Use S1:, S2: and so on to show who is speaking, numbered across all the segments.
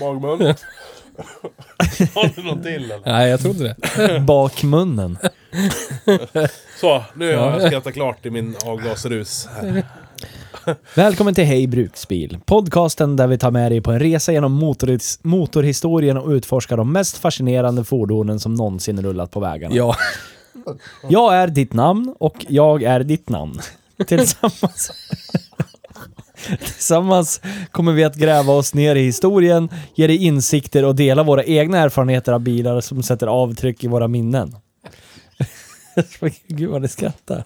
S1: Magmun. Har du något till eller?
S2: Nej, jag trodde det.
S3: Bakmunnen.
S1: Så, nu har jag skrattat klart i min avgasrus. här.
S3: Välkommen till Hej Bruksbil. Podcasten där vi tar med dig på en resa genom motorhis- motorhistorien och utforskar de mest fascinerande fordonen som någonsin rullat på vägarna.
S2: Ja.
S3: Jag är ditt namn och jag är ditt namn. Tillsammans... Tillsammans kommer vi att gräva oss ner i historien, ge dig insikter och dela våra egna erfarenheter av bilar som sätter avtryck i våra minnen. Gud vad ni skrattar.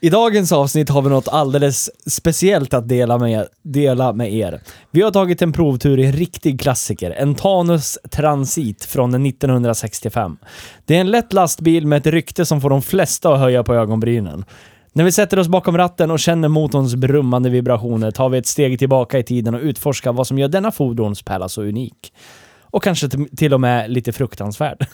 S3: I dagens avsnitt har vi något alldeles speciellt att dela med, dela med er. Vi har tagit en provtur i en riktig klassiker, en Tanus Transit från 1965. Det är en lätt lastbil med ett rykte som får de flesta att höja på ögonbrynen. När vi sätter oss bakom ratten och känner motorns brummande vibrationer tar vi ett steg tillbaka i tiden och utforskar vad som gör denna fordonspärla så unik. Och kanske t- till och med lite fruktansvärd.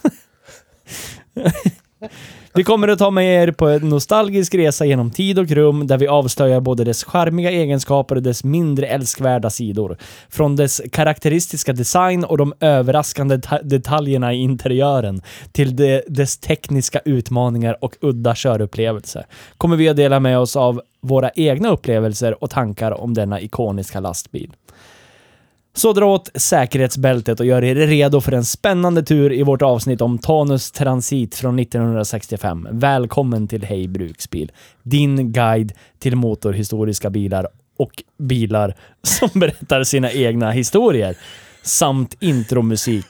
S3: Vi kommer att ta med er på en nostalgisk resa genom tid och rum där vi avslöjar både dess charmiga egenskaper och dess mindre älskvärda sidor. Från dess karaktäristiska design och de överraskande ta- detaljerna i interiören till de- dess tekniska utmaningar och udda körupplevelser kommer vi att dela med oss av våra egna upplevelser och tankar om denna ikoniska lastbil. Så dra åt säkerhetsbältet och gör er redo för en spännande tur i vårt avsnitt om Tanus Transit från 1965. Välkommen till Hej Bruksbil, din guide till motorhistoriska bilar och bilar som berättar sina egna historier. Samt intromusik.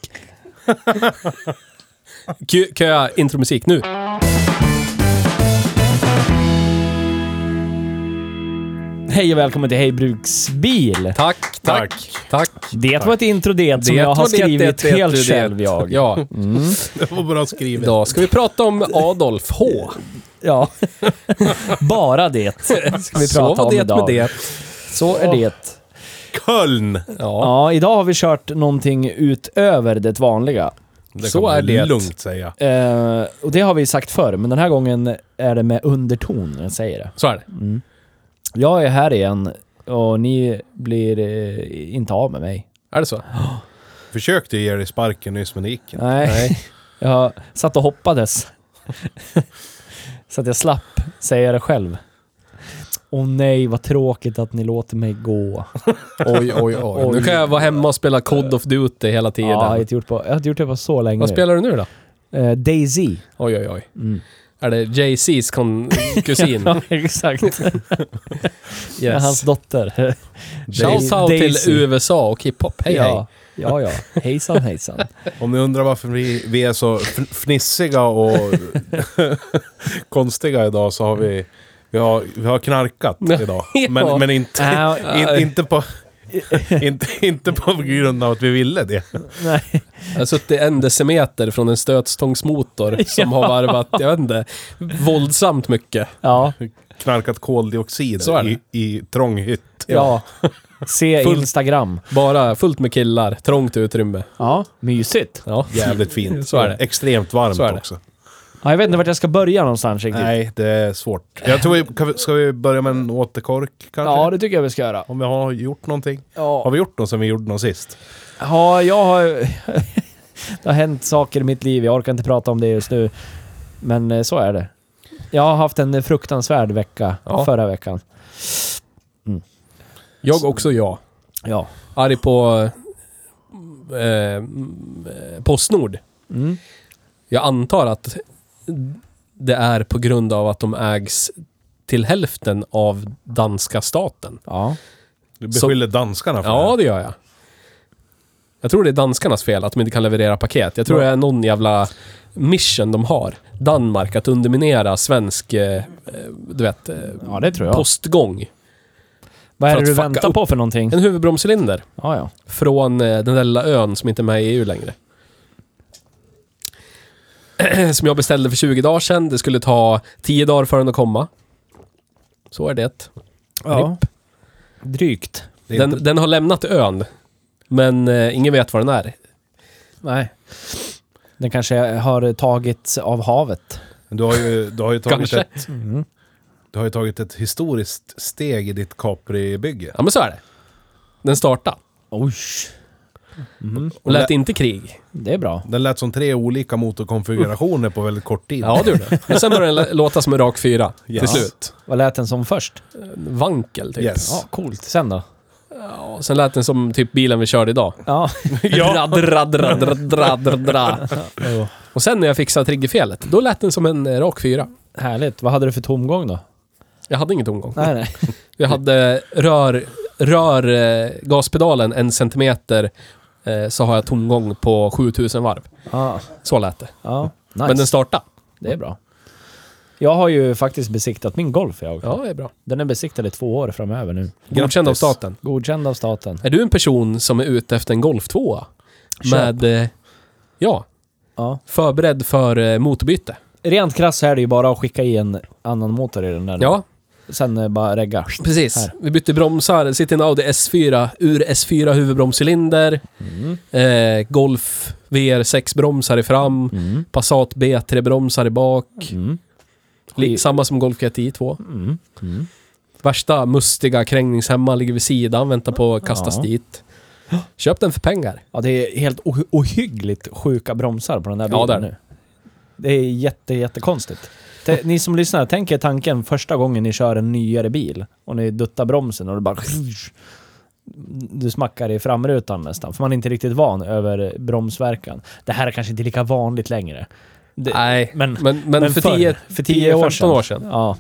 S2: Kö- Köa intromusik nu.
S3: Hej och välkommen till Hej Bruksbil.
S2: Tack, tack, tack.
S3: Det var ett intro det som jag har
S2: var det,
S3: skrivit
S2: det, det,
S3: helt
S2: det.
S3: själv jag. Mm.
S2: Ja.
S1: Det var bra skrivet.
S2: Idag ska vi prata om Adolf H.
S3: Ja. Bara det ska vi
S2: Så
S3: prata
S2: var
S3: om
S2: det
S3: idag.
S2: med det.
S3: Så är det.
S1: Köln!
S2: Ja,
S3: Ja, idag har vi kört någonting utöver det vanliga.
S1: Det
S2: Så
S1: kan man
S2: är det.
S1: lugnt säga.
S3: Eh, och det har vi sagt förr, men den här gången är det med underton när jag säger det.
S2: så är det.
S3: Jag är här igen och ni blir eh, inte av med mig.
S2: Är det så?
S1: Försökte ju ge dig sparken nyss men det gick inte.
S3: Nej. jag satt och hoppades. Så att jag slapp säga det själv. Åh nej, vad tråkigt att ni låter mig gå.
S2: Oj, oj, oj. Nu kan jag vara hemma och spela Cod of Duty hela tiden.
S3: Ja, jag har inte gjort, på, jag har inte gjort det på så länge
S2: Vad
S3: nu.
S2: spelar du nu då?
S3: Eh, Daisy.
S2: Oj, oj, oj. Är det JC's kon- kusin?
S3: Ja, exakt. Hans
S2: Yes.
S3: dotter.
S2: Shout out
S3: Daisy.
S2: till USA och hiphop. Hej, hej.
S3: ja, ja, ja. Hejsan, hejsan.
S1: Om ni undrar varför vi, vi är så fn- fnissiga och konstiga idag så har vi... Vi har, vi har knarkat idag. Men, men inte,
S3: Nej,
S1: in, inte, på, inte, inte på grund av att vi ville det.
S3: nej.
S2: Jag har suttit en decimeter från en stötstångsmotor som har varvat, jag vet inte, våldsamt mycket.
S3: Ja,
S1: Knarkat koldioxid
S2: Så är det.
S1: i, i trånghytt.
S3: ja. Se
S2: Fullt-
S3: Instagram.
S2: Bara fullt med killar, trångt utrymme.
S3: Ja, mysigt.
S2: Ja.
S1: Jävligt fint.
S2: Så är det.
S1: Extremt varmt
S2: Så är det.
S1: också.
S3: Ja, jag vet inte vart jag ska börja någonstans riktigt.
S1: Nej, det är svårt. Jag tror vi, kan vi- ska vi börja med en återkork kanske?
S3: Ja, det tycker jag vi ska göra.
S1: Om vi har gjort någonting. Har
S3: Ja,
S1: vi gjort något som vi gjorde någon sist?
S3: ja jag har... Det har hänt saker i mitt liv. Jag orkar inte prata om det just nu. Men eh, så är det. Jag har haft en eh, fruktansvärd vecka
S2: Ja.
S3: förra veckan.
S2: Jag också jag.
S3: Ja.
S2: Arg på eh, mm, eh, Postnord.
S3: Mm.
S2: Jag antar att det är på grund av att de ägs till hälften av danska staten.
S3: Ja.
S1: Du beskyller danskarna för
S2: Ja, det gör jag. Jag tror det är danskarnas fel att de inte kan leverera paket. Jag tror det är någon jävla mission de har. Danmark, att underminera svensk, eh, eh, du vet, eh,
S3: Ja, det tror jag.
S2: postgång.
S3: Vad är
S2: för
S3: det
S2: att
S3: du
S2: fucka
S3: väntar
S2: upp.
S3: på för någonting?
S2: En huvudbromscylinder.
S3: Ja, ja.
S2: Från eh, den där lilla ön som inte är med i EU längre. som jag beställde för 20 dagar sedan. Det skulle ta 10 dagar för den att komma. Så är det.
S3: ja. Drygt.
S1: Det är
S2: Den,
S1: inte-
S2: den har lämnat ön. Men eh, ingen vet var den är.
S3: Nej. Den kanske har tagits av havet.
S1: Du har ju, du har ju tagit,
S2: Kanske.
S1: ett, du har ju tagit ett historiskt steg i ditt Capri-bygge.
S2: Ja men så är det. Den startade.
S3: Oj.
S2: Och lät inte krig.
S3: Det är bra.
S1: Den lät som tre olika motorkonfigurationer på väldigt kort tid.
S2: Ja du det. Men sen började den låta som en rak fyra. Till
S1: Yes.
S2: slut.
S3: Vad lät den som först?
S2: Vankel typ.
S1: Yes.
S3: Ja, coolt. Sen då?
S2: Ja, sen lät den som typ bilen vi körde idag.
S3: Ja.
S2: Dra, dra, dra, dra, dra, dra, dra.
S3: Jo.
S2: Och sen när jag fixade triggerfelet, då lät den som en eh, rak fyra.
S3: Härligt. Vad hade du för tomgång då?
S2: Jag hade ingen tomgång.
S3: Nej, nej.
S2: Jag hade rör, rör eh, gaspedalen en centimeter, eh, så har jag tomgång på 7000 varv.
S3: Ja,
S2: Så lät det.
S3: ja. Nice.
S2: Men den startade.
S3: Det är bra. Jag har ju faktiskt besiktat min Golf jag.
S2: Ja, det är bra.
S3: Den är besiktad i två år framöver nu.
S2: Godkänd av
S1: Grattis.
S2: staten.
S3: Godkänd av staten.
S2: Är du en person som är ute efter en Golf 2?
S3: Köp.
S2: Med, eh, ja,
S3: Ja.
S2: förberedd för eh, motorbyte.
S3: Rent krasst så är det ju bara att skicka i en annan motor i den där. nu.
S2: Ja,
S3: Sen eh, bara regga.
S2: precis.
S3: Här.
S2: Vi bytte bromsar. Det Sitter en Audi S4, ur S4 huvudbromscylinder.
S3: Mm.
S2: Eh, Golf VR6-bromsar i fram.
S3: Mm.
S2: Passat B3-bromsar i bak.
S3: Mm.
S2: Li- Samma som Golf GTI 2.
S3: Mm. Mm.
S2: Värsta mustiga krängningshemma ligger vid sidan, väntar på att kastas
S3: Ja.
S2: dit. Köp den för pengar.
S3: Ja, det är helt o- ohyggligt sjuka bromsar på den där
S2: Ja,
S3: bilen
S2: där.
S3: nu. Det är jätte, jättekonstigt. Te- Ni som lyssnar, tänk er tanken första gången ni kör en nyare bil och ni duttar bromsen och det bara... Du smackar i framrutan nästan, för man är inte riktigt van över bromsverkan. Det här är kanske inte lika vanligt längre. Det,
S2: Nej,
S3: men-
S2: men, men,
S3: men
S2: för
S3: förr,
S2: 10
S3: för 10 år
S2: 15 år
S3: sedan.
S2: sedan.
S3: Ja.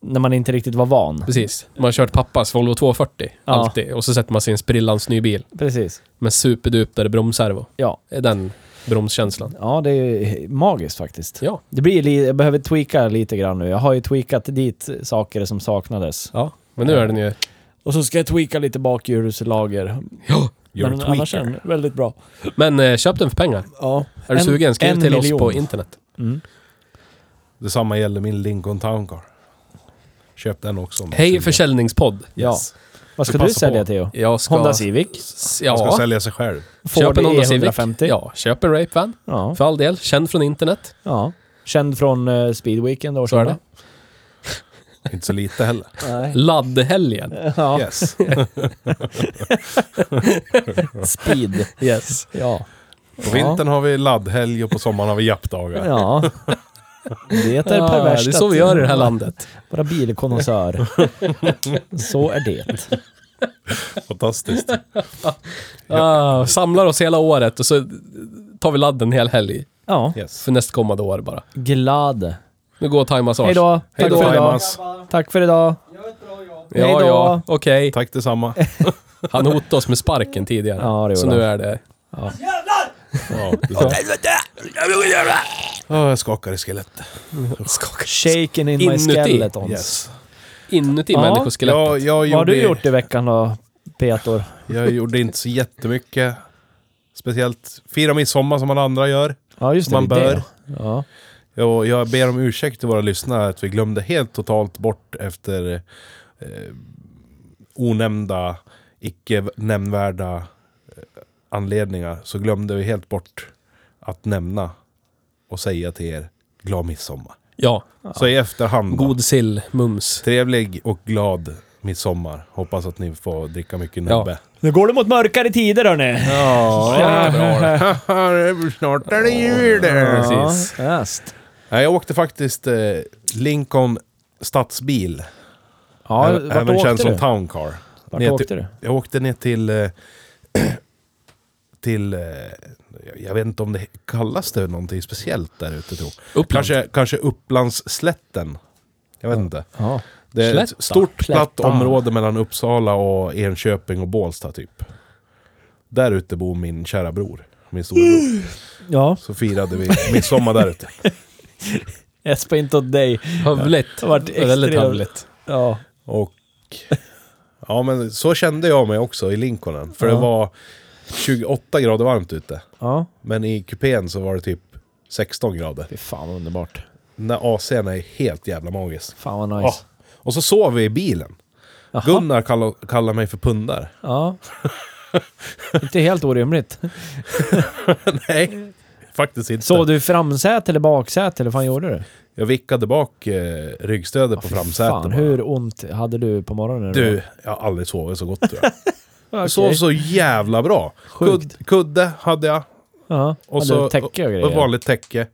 S3: När man inte riktigt var van.
S2: Precis. Man har kört pappas Volvo 240.
S3: Ja.
S2: Alltid. Och så sätter man sig i en sprillans ny bil.
S3: Precis.
S2: Med superdupade bromservo.
S3: Ja.
S2: Det är Den bromskänslan.
S3: Ja, det är magiskt faktiskt.
S2: Ja.
S3: Det blir li- jag behöver tweaka lite grann nu. Jag har ju tweakat dit saker som saknades.
S2: Ja. Men nu är den ju...
S3: Och så ska jag tweaka lite bakhjulslager.
S2: Ja.
S1: You're
S3: Men
S1: a tweaker.
S3: annars är den väldigt bra.
S2: Men eh, köp den för pengar.
S3: Ja.
S2: Är du
S3: En-
S2: sugen? Skriv
S3: en
S2: till
S3: miljon.
S2: oss på internet.
S3: Mm.
S1: Detsamma gäller min Lincoln Town Car. Köp den också. om du är
S2: Hej
S1: sugen.
S2: försäljningspodd.
S3: Ja. Vad ska
S1: Vi
S3: du
S1: passar
S3: sälja
S1: på.
S3: Theo?
S2: Jag ska...
S3: Honda Civic?
S2: S-
S1: Man ska
S2: Ja.
S1: sälja sig själv.
S3: Ford
S2: Köp en Honda Civic.
S3: E150?
S2: Ja. Köp en Rape Van.
S3: E Ja.
S2: För all del. Känd från internet.
S3: ja. Känd från uh, Speedweekend år
S2: Så är det.
S1: Inte så lite heller.
S3: Nej.
S2: Laddhelgen.
S3: Ja.
S1: Yes.
S3: Speed.
S2: Yes.
S3: Ja.
S1: På vintern har vi laddhelg och på sommaren har vi jappdagar.
S3: Ja. Det är
S2: Ja,
S3: perverst.
S2: Ah, det är så
S3: att-
S2: vi gör i det här landet.
S3: Vara bilkonnässör. så är det.
S1: Fantastiskt.
S2: Ah, samlar oss hela året och så tar vi ladden hel helg.
S3: Ja.
S1: Yes.
S2: För nästkommande år bara.
S3: Glad.
S2: Nu går thaimassage.
S3: Hej då. Tack
S2: då.
S3: för idag.
S1: Thomas.
S3: Tack för idag.
S2: Ja,
S3: Hej då.
S2: ja, okej.
S1: Tack detsamma.
S2: Han hotade oss med sparken tidigare.
S3: Ja, det gjorde
S2: så
S3: han.
S2: nu är det...
S1: Ja, detsamma. Ja, jag skakar i skelettet.
S3: Shaken in my
S2: Inuti.
S3: skeletons.
S1: Yes.
S2: Inuti
S3: Ja.
S2: människoskelettet.
S1: Jag, jag,
S3: Vad har
S1: gjorde,
S3: du gjort i veckan då, Petor?
S1: jag gjorde inte så jättemycket. Speciellt fira midsommar som alla andra gör.
S3: Ja, just det.
S1: Som man
S3: det är
S1: bör.
S3: det. Ja.
S1: Jag, jag ber om ursäkt till våra lyssnare att vi glömde helt totalt bort efter eh, onämnda, icke nämnvärda eh, anledningar så glömde vi helt bort att nämna och säga till er glad midsommar.
S2: Ja.
S1: Så i efterhand, God.
S2: God sill, mums.
S1: trevlig och glad midsommar. Hoppas att ni får dricka mycket
S2: Ja.
S1: nubbe.
S3: Nu går det mot mörkare tider hörni.
S1: Ja. Snart är det jul där.
S2: Precis.
S3: Ja, just.
S1: Nej, Jag åkte faktiskt eh, Lincoln stadsbil.
S3: Ja,
S1: Även-
S3: vart
S1: Även
S3: åkte
S1: känd som typ-
S3: du?
S1: Town Car.
S3: Vart
S1: ner
S3: åkte
S1: till,
S3: du?
S1: Jag åkte ner till... eh, Till... eh, Jag vet inte om det kallas det någonting speciellt där ute tror
S2: Uppland.
S1: Kanske, kanske Upplandsslätten. Jag vet inte.
S3: Ja.
S1: Det är
S2: Slätta.
S1: ett stort platt
S3: Slätta.
S1: område mellan Uppsala och Enköping och Bålsta typ. Där ute bor min kära bror. Min storebror.
S3: Ja,
S1: Så firade vi midsommar där ute.
S3: jag spär inte åt dig.
S2: Hövligt.
S3: Det har varit extra-
S2: Väldigt hövligt.
S3: Ja.
S1: Och ja, men så kände jag mig också i Lincolnen. För
S3: Ja.
S1: det var 28 grader varmt ute.
S3: Ja.
S1: Men i kupén så var det typ 16 grader.
S3: Fy fan vad underbart.
S1: Den där AC'n är helt jävla magisk.
S3: Fan vad nice.
S1: Ja. Och så sov vi i bilen.
S3: Jaha.
S1: Gunnar kallar, kallar mig för pundare.
S3: Ja. inte helt orimligt.
S1: Nej, faktiskt inte.
S3: Såg du i framsäte eller baksäte eller fan gjorde du?
S1: Jag vickade bak eh, ryggstödet på framsätet.
S3: Fan,
S1: bara.
S3: hur ont hade du på morgonen?
S1: Du, jag har aldrig sovit så gott tror jag.
S3: okay.
S1: Jag sov så jävla bra.
S3: Sjukt.
S1: Kud, kudde hade jag.
S3: Ja.
S1: Och
S3: hade
S1: så
S3: du täcke och grejer.
S1: och ett vanligt täcke.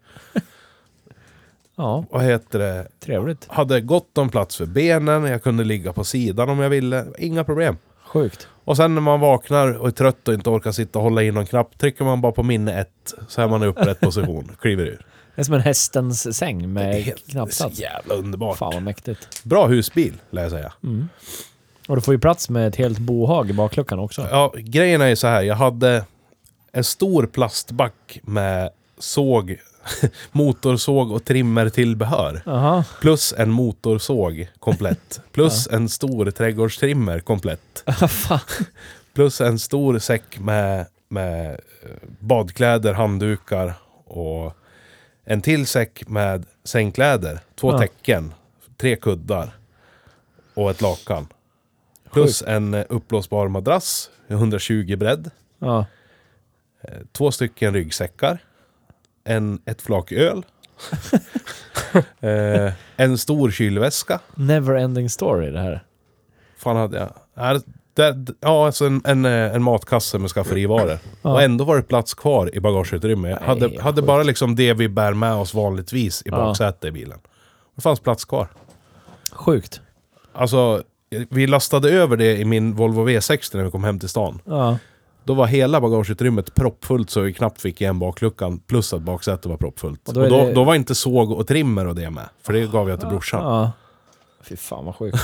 S3: Ja,
S1: Vad heter det?
S3: trevligt.
S1: Hade gott om plats för benen, jag kunde ligga på sidan om jag ville. Inga problem.
S3: Sjukt.
S1: Och sen när man vaknar och är trött och inte orkar sitta och hålla i någon knapp, trycker man bara på minne ett, så är man i upprätt position, kliver ur.
S3: Det är som en hästens säng med
S1: Helt- Det är
S3: knappsats.
S1: så jävla underbart.
S3: Fan vad mäktigt. Mm.
S1: Bra husbil, lär jag säga.
S3: Och du får ju plats med ett helt bohag i bakluckan också.
S1: Ja, grejen är ju så här, jag hade en stor plastback med såg, motorsåg och trimmertillbehör.
S3: Jaha.
S1: Plus en motorsåg komplett. Plus en stor trädgårdstrimmer komplett. Plus en stor säck med, med eh, badkläder, handdukar och en till säck med sängkläder. Två
S3: Ja.
S1: täcken, tre kuddar och ett lakan. Plus en eh, uppblåsbar madrass, 120 bredd.
S3: Ja.
S1: eh, Två stycken ryggsäckar. En, ett flak öl. eh, en stor kylväska.
S3: Neverending story det här.
S1: fan hade jag? Nej, det, det, ja, alltså en, en, eh, en matkasse med skafferivaror.
S3: Ja.
S1: Och ändå var det plats kvar i bagageutrymmet. Jag
S3: Nej,
S1: hade, hade
S3: sjukt.
S1: bara liksom det vi bär med oss vanligtvis i
S3: Ja.
S1: baksätet i bilen. Det fanns plats kvar.
S3: Sjukt.
S1: Alltså, vi lastade över det i min Volvo V60 när vi kom hem till stan.
S3: Ja.
S1: Då var hela bagageutrymmet proppfullt så vi knappt fick igen bakluckan. Plus att baksätet var
S3: Och
S1: proppfullt. Och
S3: då
S1: då,
S3: är
S1: då,
S3: det-
S1: var inte såg och trimmer och det med. För det gav jag till brorsan.
S3: Ja. Fy fan vad sjukt.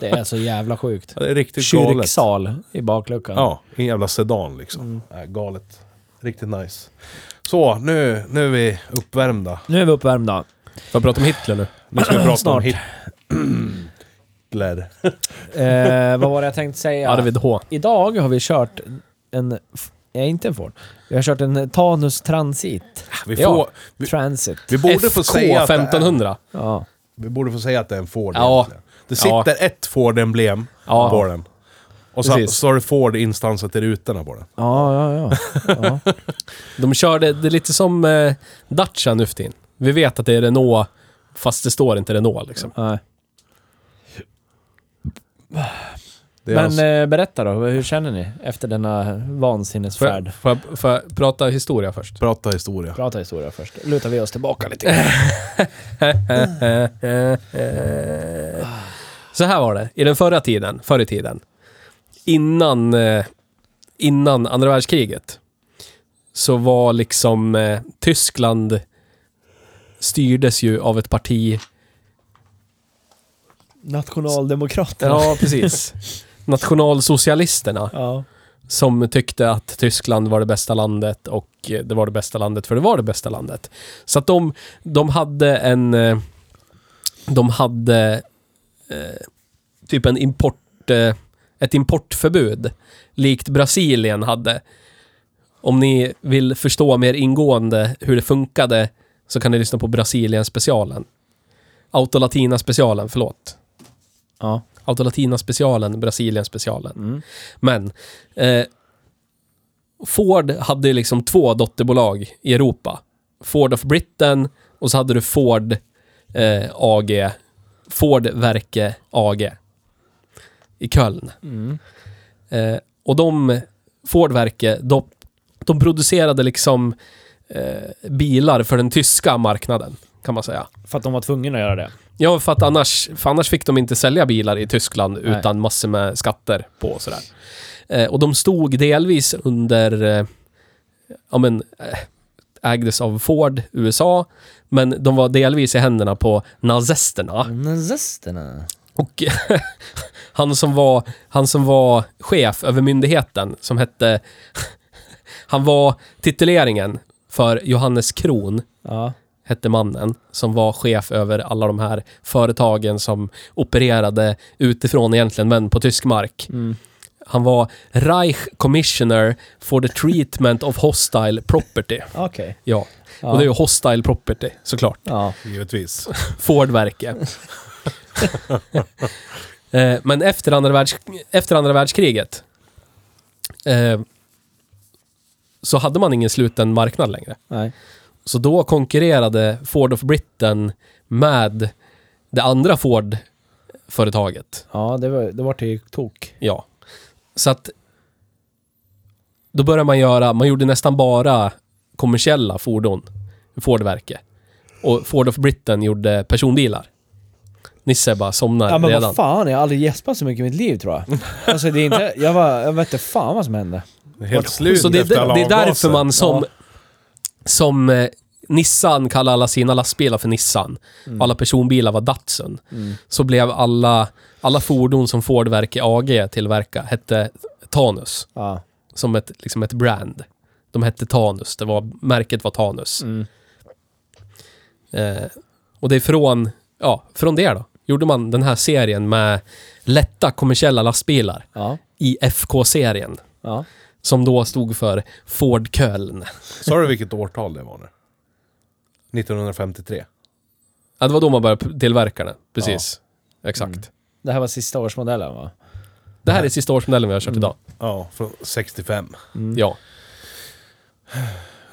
S3: Det är så jävla sjukt.
S1: Ja, Det är riktigt galet.
S3: Kyrksal i bakluckan.
S1: Ja, en jävla sedan liksom.
S2: Mm.
S1: Äh, galet. Riktigt nice. Så, nu, nu är vi uppvärmda.
S3: Nu är vi uppvärmda.
S2: Får jag prata om Hitler nu?
S1: Nu ska vi prata
S3: Snart.
S1: om Hitler.
S3: Eh, vad var det jag tänkte säga?
S2: Arvid H.
S3: Idag har vi kört en... Nej, inte en Ford. Vi har kört en Tanus Transit.
S1: Vi, får,
S2: Ja.
S1: vi,
S3: Transit.
S1: vi, borde få säga att det är,
S2: 1500.
S3: Ja.
S1: vi borde få säga att det är en Ford
S2: Ja.
S1: egentligen. Det
S2: Ja.
S1: sitter ett Ford-emblem
S2: Ja.
S1: på den. Och så,
S2: Precis.
S1: så har du Ford-instanser till rutorna på den.
S3: Ja, ja, ja. ja.
S2: De körde, det är lite som eh, Dacia nu för tiden. Vi vet att det är Renault, fast det står inte Renault liksom.
S3: Nej.
S1: Det är
S3: Men
S1: alltså-
S3: eh, berätta då, hur känner ni efter denna
S2: Får jag,
S3: vansinnesfärd?
S2: får, jag, får jag prata historia först?
S1: Prata historia.
S3: Prata historia först. Lutar vi oss tillbaka lite grann.
S2: Så här var det, i den förra tiden, förr i tiden, innan, eh, innan andra världskriget, så var liksom eh, Tyskland styrdes ju av ett parti
S3: Nationaldemokraterna.
S2: Ja, precis. Nationalsocialisterna
S3: Ja.
S2: som tyckte att Tyskland var det bästa landet och eh, det var det bästa landet för det var det bästa landet. Så att de, de hade en... eh, De hade eh, typ en import... Eh, ett importförbud, likt Brasilien hade. Om ni vill förstå mer ingående hur det funkade så kan ni lyssna på Brasilien-specialen. Autolatina-specialen, förlåt.
S3: Ja.
S2: Autolatina-specialen, Brasilien-specialen.
S3: Mm.
S2: Men eh, Ford hade ju liksom två dotterbolag i Europa. Ford of Britain och så hade du Ford eh, AG. Ford Verke AG. I Köln.
S3: Mm.
S2: Eh, och de, Ford Werke, de, de producerade liksom eh, bilar för den tyska marknaden, kan man säga.
S3: För att de var tvungna att göra det.
S2: Ja, för att annars, för annars fick de inte sälja bilar i Tyskland
S3: Nej.
S2: utan massor med skatter på och sådär. Eh, och de stod delvis under, eh, ja men, eh, ägdes av Ford, USA, men de
S3: Mm.
S2: var delvis i händerna på nazisterna.
S3: Nazisterna.
S2: Och Han som var, han som var chef över myndigheten, som hette... han var tituleringen för Johannes Kron,
S3: Ja.
S2: hette mannen, som var chef över alla de här företagen som opererade utifrån egentligen, men på tysk mark.
S3: Mm.
S2: Han var Reich Commissioner for the Treatment of Hostile Property.
S3: Okej.
S2: Ja,
S3: Ja.
S2: och det är ju Hostile Property, såklart.
S3: Ja.
S1: Givetvis.
S2: Fordverke. eh, men efter andra, världs efter andra världskriget eh, så hade man ingen sluten marknad längre.
S3: Nej.
S2: Så då konkurrerade Ford of Britain med det andra Ford-företaget.
S3: Ja, det var, det var till tok.
S2: Ja. Så att då började man göra, man gjorde nästan bara kommersiella fordon. Fordverke. Och Ford of Britain gjorde personbilar. Nisse bara somnar
S3: Ja men
S2: redan.
S3: vad fan, jag har aldrig gäspat så mycket i mitt liv tror jag. Alltså det är inte, jag var, jag vet inte fan vad som hände.
S1: Helt slut
S2: Så det är,
S1: efter alla
S2: det är därför
S1: avgaser.
S2: man som,
S3: Ja.
S2: som eh, Nissan kallar alla sina lastbilar för Nissan.
S3: Mm.
S2: Och alla personbilar var Datsun. Så blev alla, alla fordon som Fordverke AG tillverkar hette Tanus.
S3: Ja.
S2: som ett, liksom ett brand. De hette Tanus, det var, märket var Tanus.
S3: Mm.
S2: Eh, och det är från, ja, från det då, gjorde man den här serien med lätta kommersiella lastbilar
S3: Ja.
S2: i FK-serien.
S3: Ja.
S2: Som då stod för Ford Köln.
S1: Sa du vilket årtal det var nu? 1953.
S2: Ja, det var då man började p- tillverka den, precis. Exakt.
S3: Det här var sista årsmodellen va?
S2: Det här är sista årsmodellen vi har kört idag.
S1: Ja, från 65.
S2: Ja.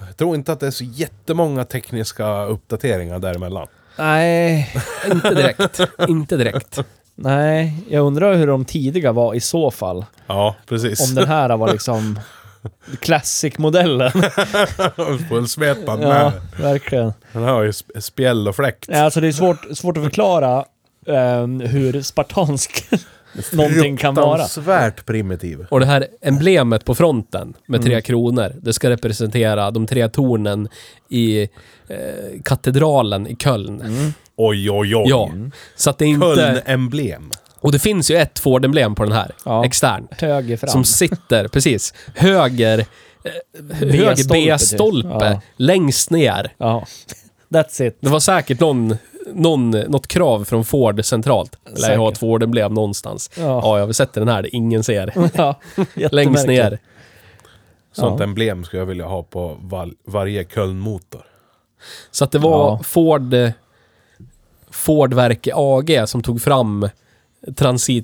S1: Jag tror inte att det är så jättemånga tekniska uppdateringar däremellan.
S3: Nej.
S2: Inte direkt. Inte direkt.
S3: Nej, jag undrar hur de tidiga var i så fall.
S1: Ja, precis.
S3: Om den här var liksom classic-modellen.
S1: Fullsmetad
S3: Ja,
S1: med.
S3: verkligen.
S1: Den här har ju sp- spjäll och fläkt.
S3: Ja, Alltså det är svårt, svårt att förklara eh, hur spartansk någonting kan vara.
S1: Fruktansvärt primitiv.
S2: Och det här emblemet på fronten med
S3: Mm.
S2: tre kronor, det ska representera de tre tornen i eh, katedralen i Köln.
S3: Mm.
S1: Oj, oj, oj.
S2: Ja, så att det är inte...
S1: Köln-emblem.
S2: Och det finns ju ett Ford-emblem på den här,
S3: Ja.
S2: extern.
S3: Höger fram.
S2: Som sitter, precis, höger... eh, Höger
S3: B-stolpe, typ.
S2: B-stolpe,
S3: Ja.
S2: längst ner.
S3: Ja. That's it.
S2: Det var säkert någon, någon, något krav från Ford centralt. Eller jag har ett
S3: Säkert.
S2: Ford-emblem någonstans. Ja.
S3: Ja. Mm.
S2: jag sätter den här, det ingen ser.
S3: Ja,
S2: längst
S3: jättemärkligt.
S2: ner.
S1: Sånt
S3: Ja.
S1: emblem skulle jag vilja ha på val- varje Köln-motor.
S2: Så att det var
S3: Ja.
S2: Ford eh, Fordverke AG som tog fram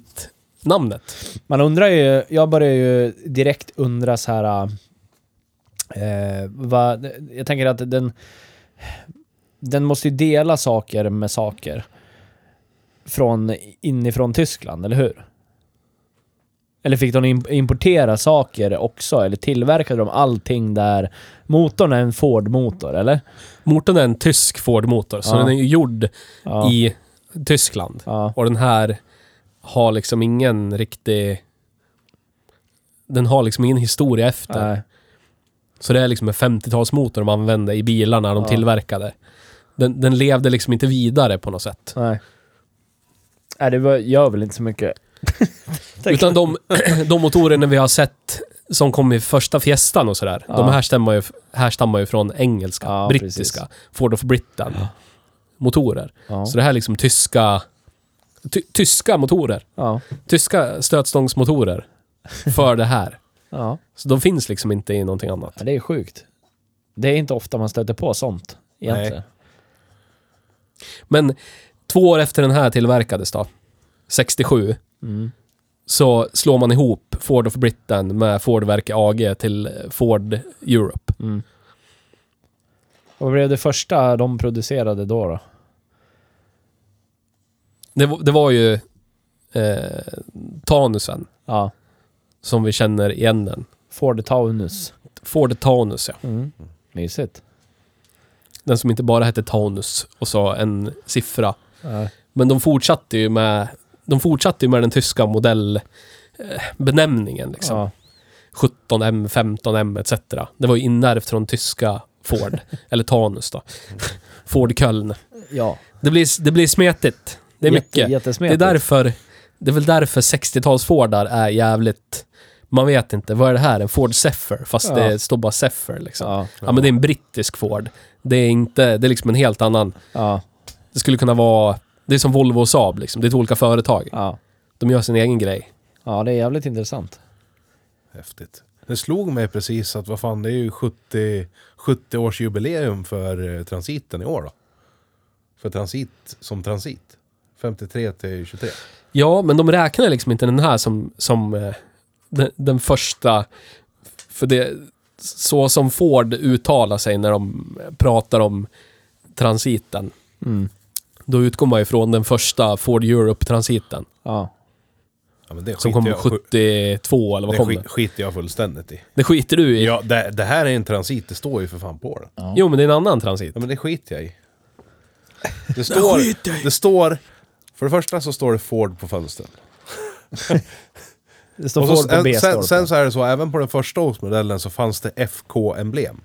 S2: transitnamnet.
S3: Man undrar ju, jag börjar ju direkt undra så här... Eh, vad, jag tänker att den... Den måste ju dela saker med saker. Från inifrån Tyskland, eller hur? Eller fick de im- importera saker också? Eller tillverkade de allting där? Motorn är en Ford-motor, eller?
S2: Motorn är en tysk Ford-motor, så
S3: Ja.
S2: den är ju gjord
S3: Ja.
S2: i Tyskland.
S3: ja.
S2: Och den här har liksom ingen riktig... Den har liksom ingen historia efter.
S3: Nej.
S2: Så det är liksom en 50-talsmotor de använde i bilarna de
S3: Ja.
S2: tillverkade. Den, den levde liksom inte vidare på något sätt.
S3: Nej. Nej, det var- gör väl inte så mycket. Tänk-
S2: Utan de, de motorerna vi har sett som kom i första fiestan och sådär,
S3: Ja.
S2: de härstammar ju, härstammar ju från engelska,
S3: Ja,
S2: brittiska,
S3: precis.
S2: Ford of Britain motorer.
S3: Ja.
S2: Så det här är liksom tyska, ty, tyska motorer,
S3: Ja.
S2: tyska stötstångsmotorer för det här.
S3: Ja.
S2: Så de finns liksom inte i någonting annat.
S3: Ja, det är sjukt. Det är inte ofta man stöter på sånt. Egentligen.
S2: Men två år efter den här tillverkades då, 67,
S3: Mm.
S2: så slår man ihop Ford of Britain med Fordverke AG till Ford Europe.
S3: Mm. Och vad blev det första de producerade då? då?
S2: Det, var- det var ju eh, Tanusen
S3: Ja,
S2: som vi känner igen den.
S3: Ford Taunus.
S2: Ford Tanus, ja.
S3: Mm. Mysigt.
S2: Den som inte bara hette Tanus och sa en siffra.
S3: Ja.
S2: Men de fortsatte ju med, de fortsatte ju med den tyska modellbenämningen. Liksom.
S3: Ja.
S2: 17M, 15M etc. Det var ju inärvt från tyska Ford, eller Tanus då. Ford Köln.
S3: ja.
S2: Det blir, det blir smetigt. Det är mycket.
S3: Jätte,
S2: Det är
S3: jättesmetigt.
S2: därför Det är väl därför 60-talsfordar är jävligt... Man vet inte, vad är det här? En Ford Zephyr? Fast
S3: Ja.
S2: det står bara Zephyr liksom. Ja.
S3: Ja,
S2: men det är en brittisk Ford. Det är inte, det är liksom en helt annan...
S3: ja,
S2: Det skulle kunna vara... Det är som Volvo och Saab liksom. Det är två olika företag.
S3: ja.
S2: De gör sin egen grej.
S3: Ja, det är jävligt intressant.
S1: Häftigt. Det slog mig precis att vad fan, det är ju 70, 70-årsjubileum för eh, transiten i år då. För transit som transit. 53 till 23.
S2: Ja, men de räknar liksom inte den här som, som eh, den, den första... För det... Så som Ford uttalar sig när de eh, pratar om transiten.
S3: Mm.
S2: Då utgår man ju från den första Ford Europe-transiten.
S3: Ja.
S1: Ja, men det
S2: Som
S1: skiter
S2: kom
S1: jag-
S2: 72 eller vad
S1: Det
S2: kom det?
S1: skit, skiter jag fullständigt i.
S2: Det skiter du i.
S1: Ja, det, det här är en transit, det står ju för fan på den.
S2: Jo, men det är en annan transit.
S1: Ja, men det skiter jag i. Det står, det står... För det första så står det Ford på fönstren.
S3: Det står
S1: Och så,
S3: Ford på
S1: sen, sen,
S3: B-stolpen.
S1: sen så är det så, även på den första årsmodellen så fanns det FK-emblem.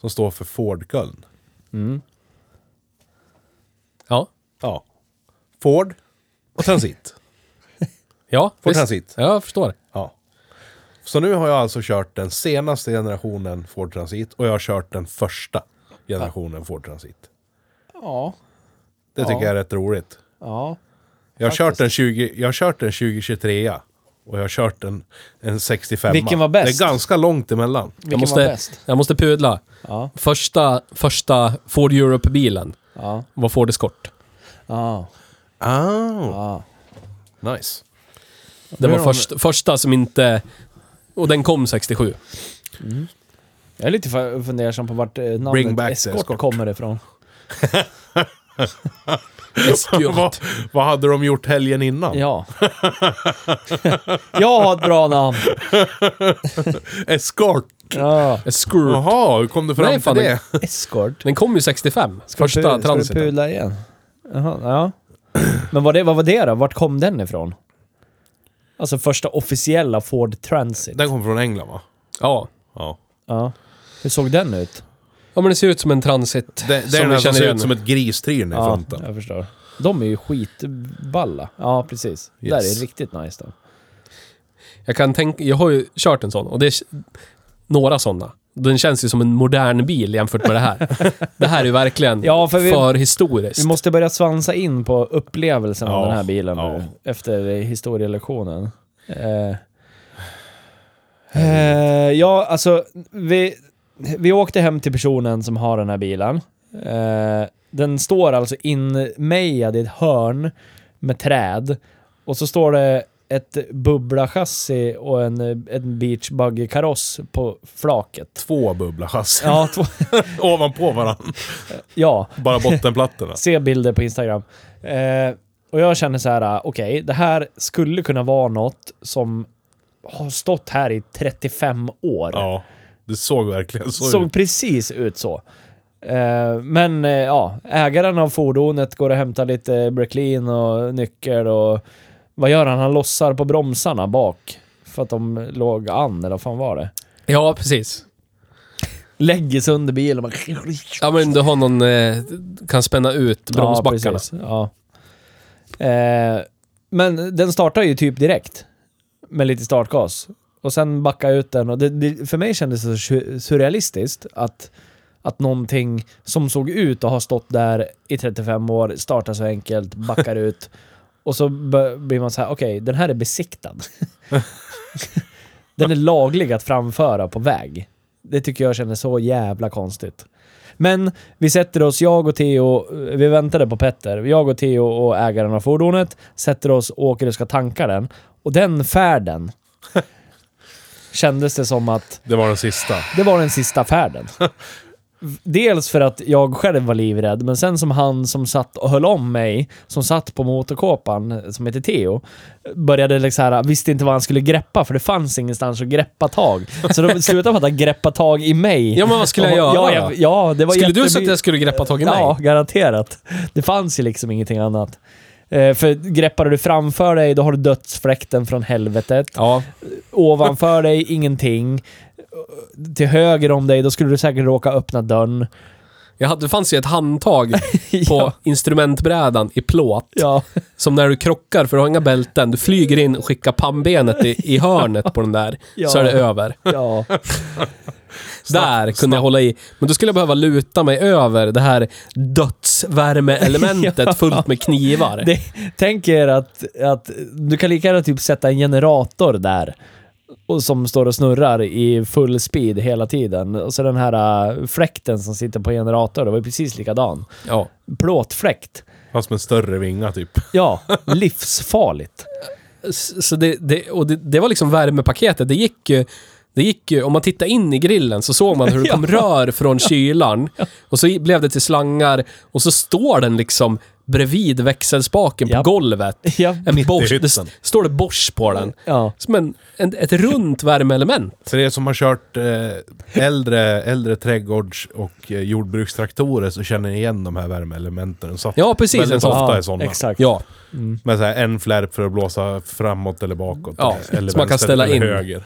S1: Som står för Ford Köln.
S2: Ja.
S1: Ja. Ford och Transit.
S2: Ja,
S1: Ford
S2: visst.
S1: Transit.
S2: Ja, jag förstår.
S1: Ja. Så nu har jag alltså kört den senaste generationen Ford Transit och jag har kört den första generationen Ford Transit.
S3: Ja.
S1: Det tycker
S3: Ja.
S1: jag är rätt roligt.
S3: Ja.
S1: Jag har, kört en 20, jag har kört en 2023 och jag har kört en, en 65
S3: Vilken var bäst?
S1: Det är ganska långt emellan.
S3: Vilken
S2: Jag
S3: var
S2: måste,
S3: bäst?
S2: jag måste pudla.
S3: Ja.
S2: Första, första Ford Europe-bilen
S3: Ja.
S2: var Ford Escort.
S3: Ja.
S1: Ah,
S3: Ja.
S1: nice.
S2: Det
S1: Hur
S2: var
S1: är de-
S2: först, första som inte... Och den kom 67.
S3: Jag är lite fu- fundersam på vart eh, namnet
S1: Bring back the
S3: Escort,
S1: Escort.
S3: kommer ifrån.
S1: Vad,
S2: Escort.
S1: vad hade de gjort helgen innan?
S3: Ja. jag har ett bra namn.
S1: Escort!
S3: Ja.
S2: Escort.
S1: Jaha, hur kom du fram
S2: Nej,
S1: till
S2: fan,
S1: det?
S3: Escort.
S2: Den kom ju 65. första
S3: Pu- Ska du
S2: transiten.
S3: pudla igen? Jaha, ja. Men vad, det, vad var det då? Vart kom den ifrån? Alltså första officiella Ford Transit.
S1: Den kom från England va?
S2: Ja.
S1: Ja.
S3: Ja. Hur såg den ut?
S2: Ja, men det ser ut som en transit.
S1: Det, det
S2: Som
S1: är den
S2: vi
S1: här som
S2: känner
S1: ser
S2: igen.
S1: ut som ett gristryn i
S3: Ja,
S1: fronten.
S3: jag förstår. De är ju skitballa. Ja, precis.
S1: Yes.
S3: Där är riktigt nice då.
S2: Jag kan tänka, jag har ju kört en sån och det är några sådana. Den känns ju som en modern bil jämfört med det här. Det här är ju verkligen
S3: Ja, för vi-
S2: för historiskt.
S3: Vi måste börja svansa in på upplevelsen av
S1: Ja,
S3: den här bilen
S1: ja.
S3: nu, efter historielektionen. Eh, eh, ja, alltså, vi, vi åkte hem till personen som har den här bilen. Eh, den står alltså inmejad i ett hörn med träd. Och så står det ett bubbla-chassi och en, en beachbuggy-kaross på flaket.
S1: Två bubbla-chassin
S3: Ja, två,
S1: ovanpå varandra.
S3: ja.
S1: Bara bottenplattorna.
S3: Se bilder på Instagram. Eh, och jag känner så här, ah, okej, det här skulle kunna vara något som har stått här i 35 år.
S1: Ja, det såg verkligen så
S3: Såg
S1: ut.
S3: precis ut så. Eh, men eh, ja, ägaren av fordonet går och hämtar lite Bricklin och nyckel och vad gör han? Han lossar på bromsarna bak. För att de låg an, eller vad fan var det?
S2: Ja, precis.
S3: Lägger sig under bilen och bara...
S2: Ja, men du har någon, eh, kan spänna ut bromsbackarna.
S3: precis. Ja. Eh, men den startar ju typ direkt. Med lite startgas. Och sen backa ut den. Och det, det, för mig kändes det så su- surrealistiskt att, att någonting som såg ut och har stått där i 35 år, startar så enkelt, backar ut. Och så bö- blir man så här, okej, den här är besiktad. den är laglig att framföra på väg. Det tycker jag kändes så jävla konstigt. Men vi sätter oss, jag och Theo, eh, vi väntade på Petter. Jag och Theo och ägaren av fordonet sätter oss, åker och ska tanka den. Och den färden kändes det som att
S1: Det var den sista.
S3: det var den sista färden. Dels för att jag själv var livrädd, men sen som han som satt och höll om mig, som satt på motorkåpan, eh, som heter Theo, började liksom så här, visste inte vad han skulle greppa, för det fanns ingenstans att greppa tag. Så de slutade med att han greppade tag i mig.
S2: Ja, men vad skulle jag göra
S3: Ja,
S2: då?
S3: jag, ja det var
S2: Skulle du
S3: jättemy-
S2: sagt att jag skulle greppa tag i mig?
S3: Ja, garanterat. Det fanns ju liksom ingenting annat. Eh, För greppar du framför dig, då har du dödsfläkten från helvetet.
S2: Ja.
S3: Ovanför dig, ingenting. Till höger om dig, då skulle du säkert råka öppna dörren.
S2: Jag hade, det fanns ju ett handtag på
S3: Ja.
S2: instrumentbrädan i plåt.
S3: Ja.
S2: Som när du krockar, för du har inga bälten. Du flyger in och skickar pannbenet i, i hörnet på den där.
S3: Ja.
S2: Så är det över.
S3: Ja.
S2: Där kunde jag hålla i. Men då skulle jag behöva luta mig över det här dödsvärmeelementet fullt med knivar.
S3: Det, tänk er att, att du kan lika gärna typ sätta en generator där. Och som står och snurrar i full speed hela tiden. Och så den här äh, fläkten som sitter på generatorn, det var ju precis likadan.
S2: Ja.
S3: Plåtfläkt.
S1: Fast med större vinga typ.
S3: Ja, livsfarligt.
S2: S- Så det, det, och det, det var liksom värmepaketet. Det gick ju... Det gick ju, om man tittar in i grillen så såg man hur det kom rör från kylan. Och så i- blev det till slangar och så står den liksom bredvid växelspaken på
S3: Ja.
S2: golvet.
S3: Ja.
S2: En Bosch, det
S1: hytten.
S2: s- står det Bosch på den.
S3: Ja.
S2: Som en, en, ett runt värmeelement.
S1: Så det är som har kört eh, äldre, äldre trädgårds och eh, jordbrukstraktorer så känner ni igen de här värmeelementen. Så
S2: Ja, precis. En
S1: Väldigt
S2: sån.
S1: ofta
S3: Ja,
S1: är sådana.
S3: Exakt. Mm.
S2: Ja,
S1: Med så här en flärp för att blåsa framåt eller bakåt.
S2: Ja,
S1: eller
S2: som man kan
S1: vänster
S2: ställa
S1: eller
S2: in.
S1: höger.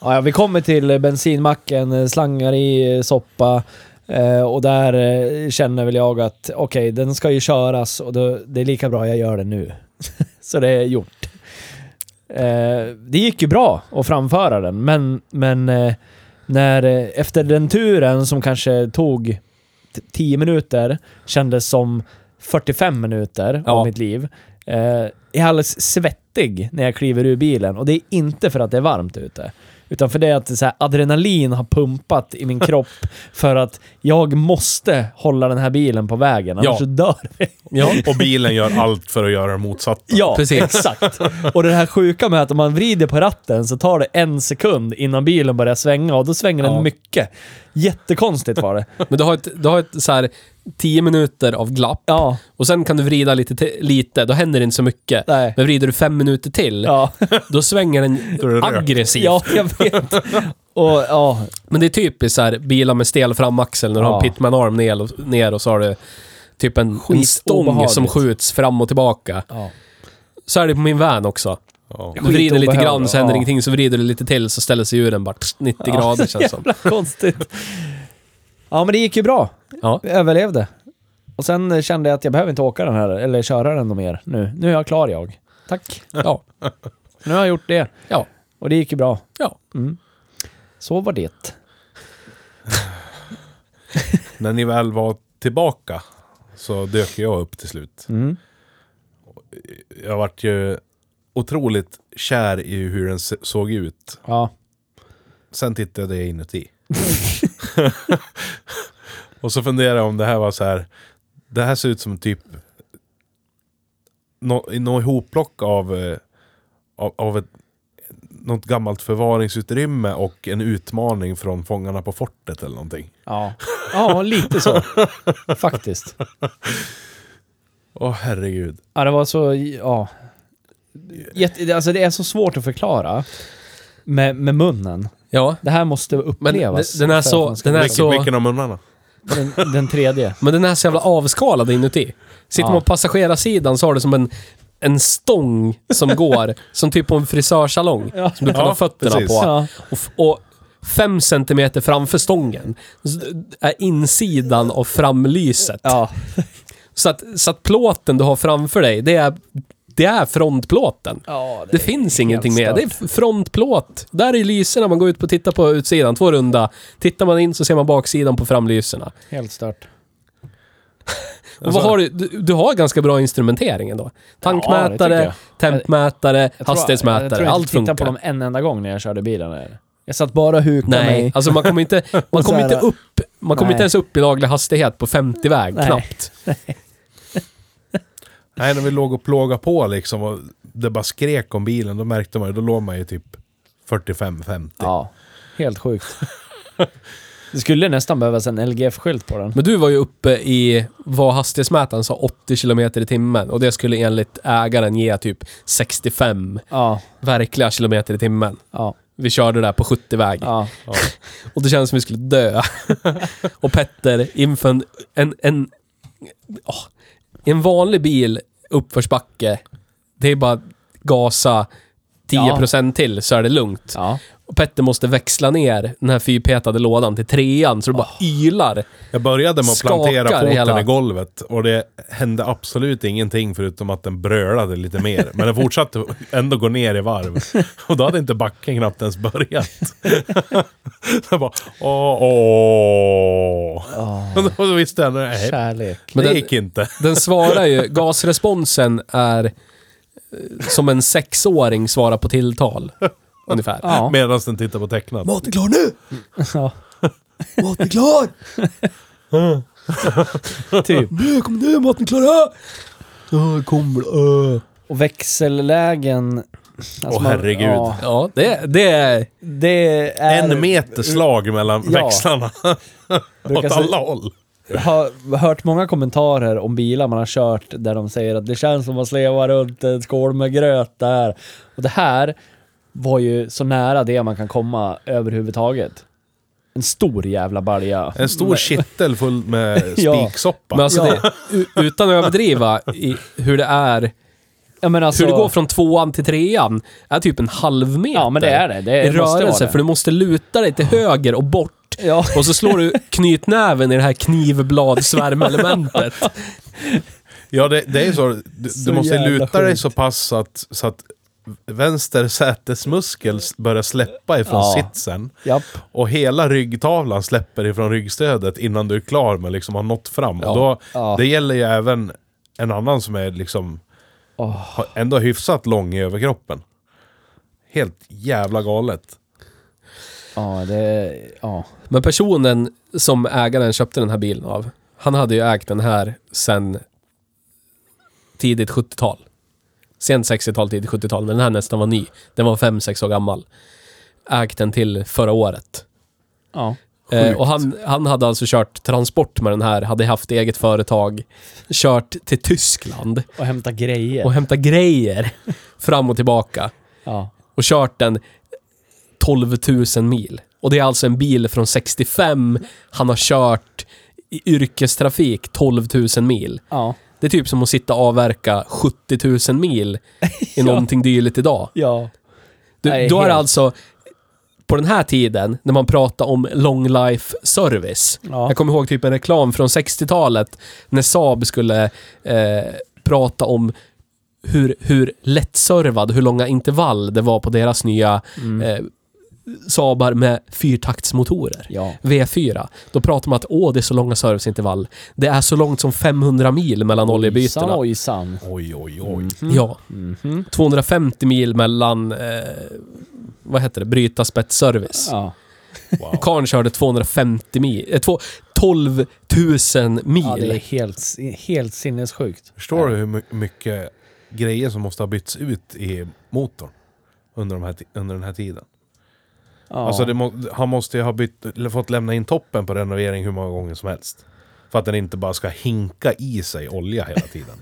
S3: Ja, ja, vi kommer till eh, bensinmacken, eh, slangar i eh, soppa. eh, Och där eh, känner väl jag att okej, den ska ju köras och då, det är lika bra jag gör det nu. Så det är gjort. Eh, Det gick ju bra att framföra den, men, men eh, när, eh, efter den turen som kanske tog t- 10 minuter, kändes som 45 minuter
S2: Ja.
S3: av mitt liv. eh, Jag är alldeles svettig när jag kliver ur bilen och det är inte för att det är varmt ute. Utan för det är att det är så här, adrenalin har pumpat i min kropp för att jag måste hålla den här bilen på vägen, annars
S2: Ja.
S3: så dör vi.
S2: ja.
S1: Och bilen gör allt för att göra det motsatta.
S3: Ja,
S2: Precis.
S3: exakt. Och det här sjuka med att om man vrider på ratten så tar det en sekund innan bilen börjar svänga och då svänger
S2: Ja.
S3: den mycket. Jättekonstigt var det.
S2: Men du har ett, du har ett så här 10 minuter av glapp
S3: Ja,
S2: och sen kan du vrida lite, till- lite då händer det inte så mycket.
S3: nej.
S2: Men vrider du fem minuter till,
S3: Ja,
S2: då svänger den
S1: Då är det rök.
S2: aggressivt.
S3: ja jag vet. Och ja,
S2: Men det är typiskt så här bilar med stel framaxel när du har
S3: Ja.
S2: pitman-arm ner och, ner och så har du typ en, en stång
S3: Skitobehagligt.
S2: som skjuts fram och tillbaka.
S3: ja.
S2: Så är det på min van också.
S1: Ja.
S2: Du vrider lite
S3: Skitobehagligt.
S2: grann så händer
S3: Ja.
S2: ingenting, så vrider du lite till så ställer sig djuren bara pss, 90
S3: Ja,
S2: grader känns det som.
S3: jävla konstigt. Ja, men det gick ju bra.
S2: Ja.
S3: Jag överlevde. Och sen eh, kände jag att jag behöver inte åka den här, eller köra den någon mer nu. Nu är jag klar jag. Tack.
S2: Ja.
S3: Nu har jag gjort det.
S2: Ja.
S3: Och det gick ju bra.
S2: Ja.
S3: Mm. Så var det.
S1: När ni väl var tillbaka så dök jag upp till slut.
S3: Mm.
S1: Jag vart ju otroligt kär i hur den se- såg ut.
S3: Ja.
S1: Sen tittade jag inuti. och så funderade jag om det här var så här. Det här ser ut som typ nå nå ihopplock av, eh, av, av ett, något gammalt förvaringsutrymme och en utmaning från Fångarna på fortet eller någonting.
S3: Ja. ja, lite så. Faktiskt.
S1: Åh herregud.
S3: Ja, det var så... Ja. Jätte, alltså det är så svårt att förklara med, med munnen.
S2: ja.
S3: Det här måste
S2: Men
S3: upplevas.
S2: den- den är
S3: för
S2: så-
S3: att man ska-
S2: den är-
S1: Vilken,
S2: så-
S1: vilken av munnarna?
S3: den, den tredje.
S2: Men den är så jävla avskalad inuti. Sitter
S3: Ja.
S2: man på passagerarsidan så har du som en, en stång som går, som typ på en frisörsalong.
S3: Ja.
S2: Som du kan ha
S1: Ja,
S2: fötterna
S1: precis.
S2: på.
S3: Ja.
S2: Och, f- och fem centimeter framför stången så är insidan av framlyset.
S3: Ja.
S2: Så, att, så att plåten du har framför dig, det är, det är frontplåten.
S3: ja
S2: Det finns ingenting mer.
S3: stört.
S2: Det är f- frontplåt. Där är lyserna. Man går ut och tittar på utsidan, två runda. Tittar man in så ser man baksidan på framlyserna.
S3: Helt stört.
S2: Och vad har du, du, du har ganska bra instrumentering ändå.
S3: Ja, Alltså- det tycker
S2: Tankmätare,
S3: jag.
S2: tempmätare,
S3: Jag tror-
S2: hastighetsmätare.
S3: jag tror jag
S2: allt
S3: inte
S2: funkar.
S3: tittade på dem en enda gång när jag körde bilen. Där. Jag satt bara och hukade
S2: Nej,
S3: mig.
S2: alltså man kommer inte, man
S3: Och så
S2: kommer
S3: här-
S2: inte upp. Man kommer
S3: Nej.
S2: inte ens upp i laglig hastighet på 50-väg,
S3: Nej.
S2: knappt.
S1: Nej, när vi låg och plågade på liksom och det bara skrek om bilen, då märkte man ju, då låg man ju typ 45-50.
S3: Ja, helt sjukt. Det skulle nästan behövas en LGF-skylt på den.
S2: Men du var ju uppe i vad hastighetsmätaren sa, 80 km i timmen. Och det skulle enligt ägaren ge typ 65
S3: Ja,
S2: verkliga kilometer i timmen.
S3: ja,
S2: Vi körde där på 70-väg.
S3: ja.
S2: Och det kändes som vi skulle dö. och Petter inför en, en, en, åh, en vanlig bil uppförsbacke. Det är bara gasa 10% till så är det lugnt.
S3: ja.
S2: Och Petter måste växla ner den här fyrpetade lådan till trean så det
S3: Ah.
S2: bara ylar.
S1: Jag började med att
S2: Skakar
S1: plantera foten
S2: hela-
S1: i golvet och det hände absolut ingenting förutom att den brölade lite mer. Men den fortsatte ändå gå ner i varv. Och då hade inte backen knappt ens börjat. Så jag bara åh, åh. Och då visste jag, nej,
S3: Kärlek.
S2: Men
S1: det
S2: den-
S1: gick inte.
S2: Den svarar ju, gasresponsen är eh, som en sexåring svarar på tilltal. Ungefär.
S3: Ja.
S1: Medan den tittade på tecknat.
S2: Maten klar nu!
S3: Ja,
S2: Maten klar!
S3: typ.
S2: Nu, kom nu, maten klar! ö! Ö, Kom, ö.
S3: Och växellägen... Alltså
S1: Åh, herregud.
S3: Ja,
S2: Ja, det, det är...
S3: det är...
S1: En meter slag mellan
S3: Ja.
S1: växlarna.
S3: brukar
S1: Åt
S3: se-
S1: alla håll.
S3: Jag har hört många kommentarer om bilar man har kört där de säger att det känns som att sleva runt en skål med gröt där. Och det här var ju så nära det man kan komma överhuvudtaget. En stor jävla balja.
S1: En stor kittel full med
S3: Ja.
S1: spiksoppa.
S2: Men alltså
S3: Ja.
S2: det, u- utan att överdriva i hur det är,
S3: Ja, men alltså,
S2: hur det går från tvåan till trean, är typ en halv meter.
S3: Ja, men det är det. Det
S2: I
S3: måste vara
S2: rörelse,
S3: det.
S2: för du måste luta dig till höger och bort.
S3: Ja,
S2: Och så slår du knytnäven i det här knivbladsvärmelementet.
S1: Ja, det, det är ju så. Du,
S3: Så
S1: du måste
S3: jävla
S1: luta dig
S3: sjukt.
S1: så pass så att, så att vänster sätesmuskel s- börjar släppa ifrån
S3: Ja.
S1: sitsen.
S3: japp.
S1: Och hela ryggtavlan släpper ifrån ryggstödet innan du är klar med liksom har nått fram.
S2: Ja.
S1: Och då,
S3: Ja.
S1: Det gäller ju även en annan som är liksom
S3: Åh.
S1: har ändå hyfsat lång i överkroppen. Helt jävla galet.
S3: Ja, det... Ja.
S2: Men personen som ägaren köpte den här bilen av, han hade ju ägt den här sen tidigt 70-tal. Sent 60-tal, tidigt 70-tal, men den här nästan var ny. Den var 5-6 år gammal. Ägt den till förra året.
S3: Ja.
S2: Eh, och han, han hade alltså kört transport med den här, hade haft eget företag, kört till Tyskland
S3: Och hämta grejer.
S2: och hämtat grejer fram och tillbaka
S3: ja.
S2: och kört den 12 000 mil. Och det är alltså en bil från 65 han har kört i yrkestrafik 12 000 mil.
S3: Ja.
S2: Det är typ som att sitta och avverka 70 000 mil i någonting dylikt idag.
S3: Ja.
S2: Du,
S3: Nej,
S2: då är det
S3: helt.
S2: alltså på den här tiden, när man pratar om long life service.
S3: Ja.
S2: Jag kommer ihåg typ en reklam från 60-talet när Saab skulle eh, prata om hur, hur lättservad, hur långa intervall det var på deras nya eh, Saabar med fyrtaktsmotorer.
S3: Ja.
S2: V4. Då pratar man att åh, det är så långa serviceintervall. Det är så långt som 500 mil mellan oljebytena.
S3: Ojsan, ojsan.
S1: Oj, oj, oj.
S2: Ja. 250 mil mellan, eh, vad heter det, bryta spetsservice.
S3: Ja.
S1: Wow.
S2: Karn körde 250 mil, eh, två, 12 000 mil.
S3: ja, det är helt, helt sinnessjukt.
S1: Förstår du hur my- mycket grejer som måste ha bytts ut i motorn under, de här, ti- under den här tiden?
S3: Ja.
S1: Alltså det må, han måste ju ha bytt, eller fått lämna in toppen på renovering hur många gånger som helst. För att den inte bara ska hinka i sig olja hela tiden.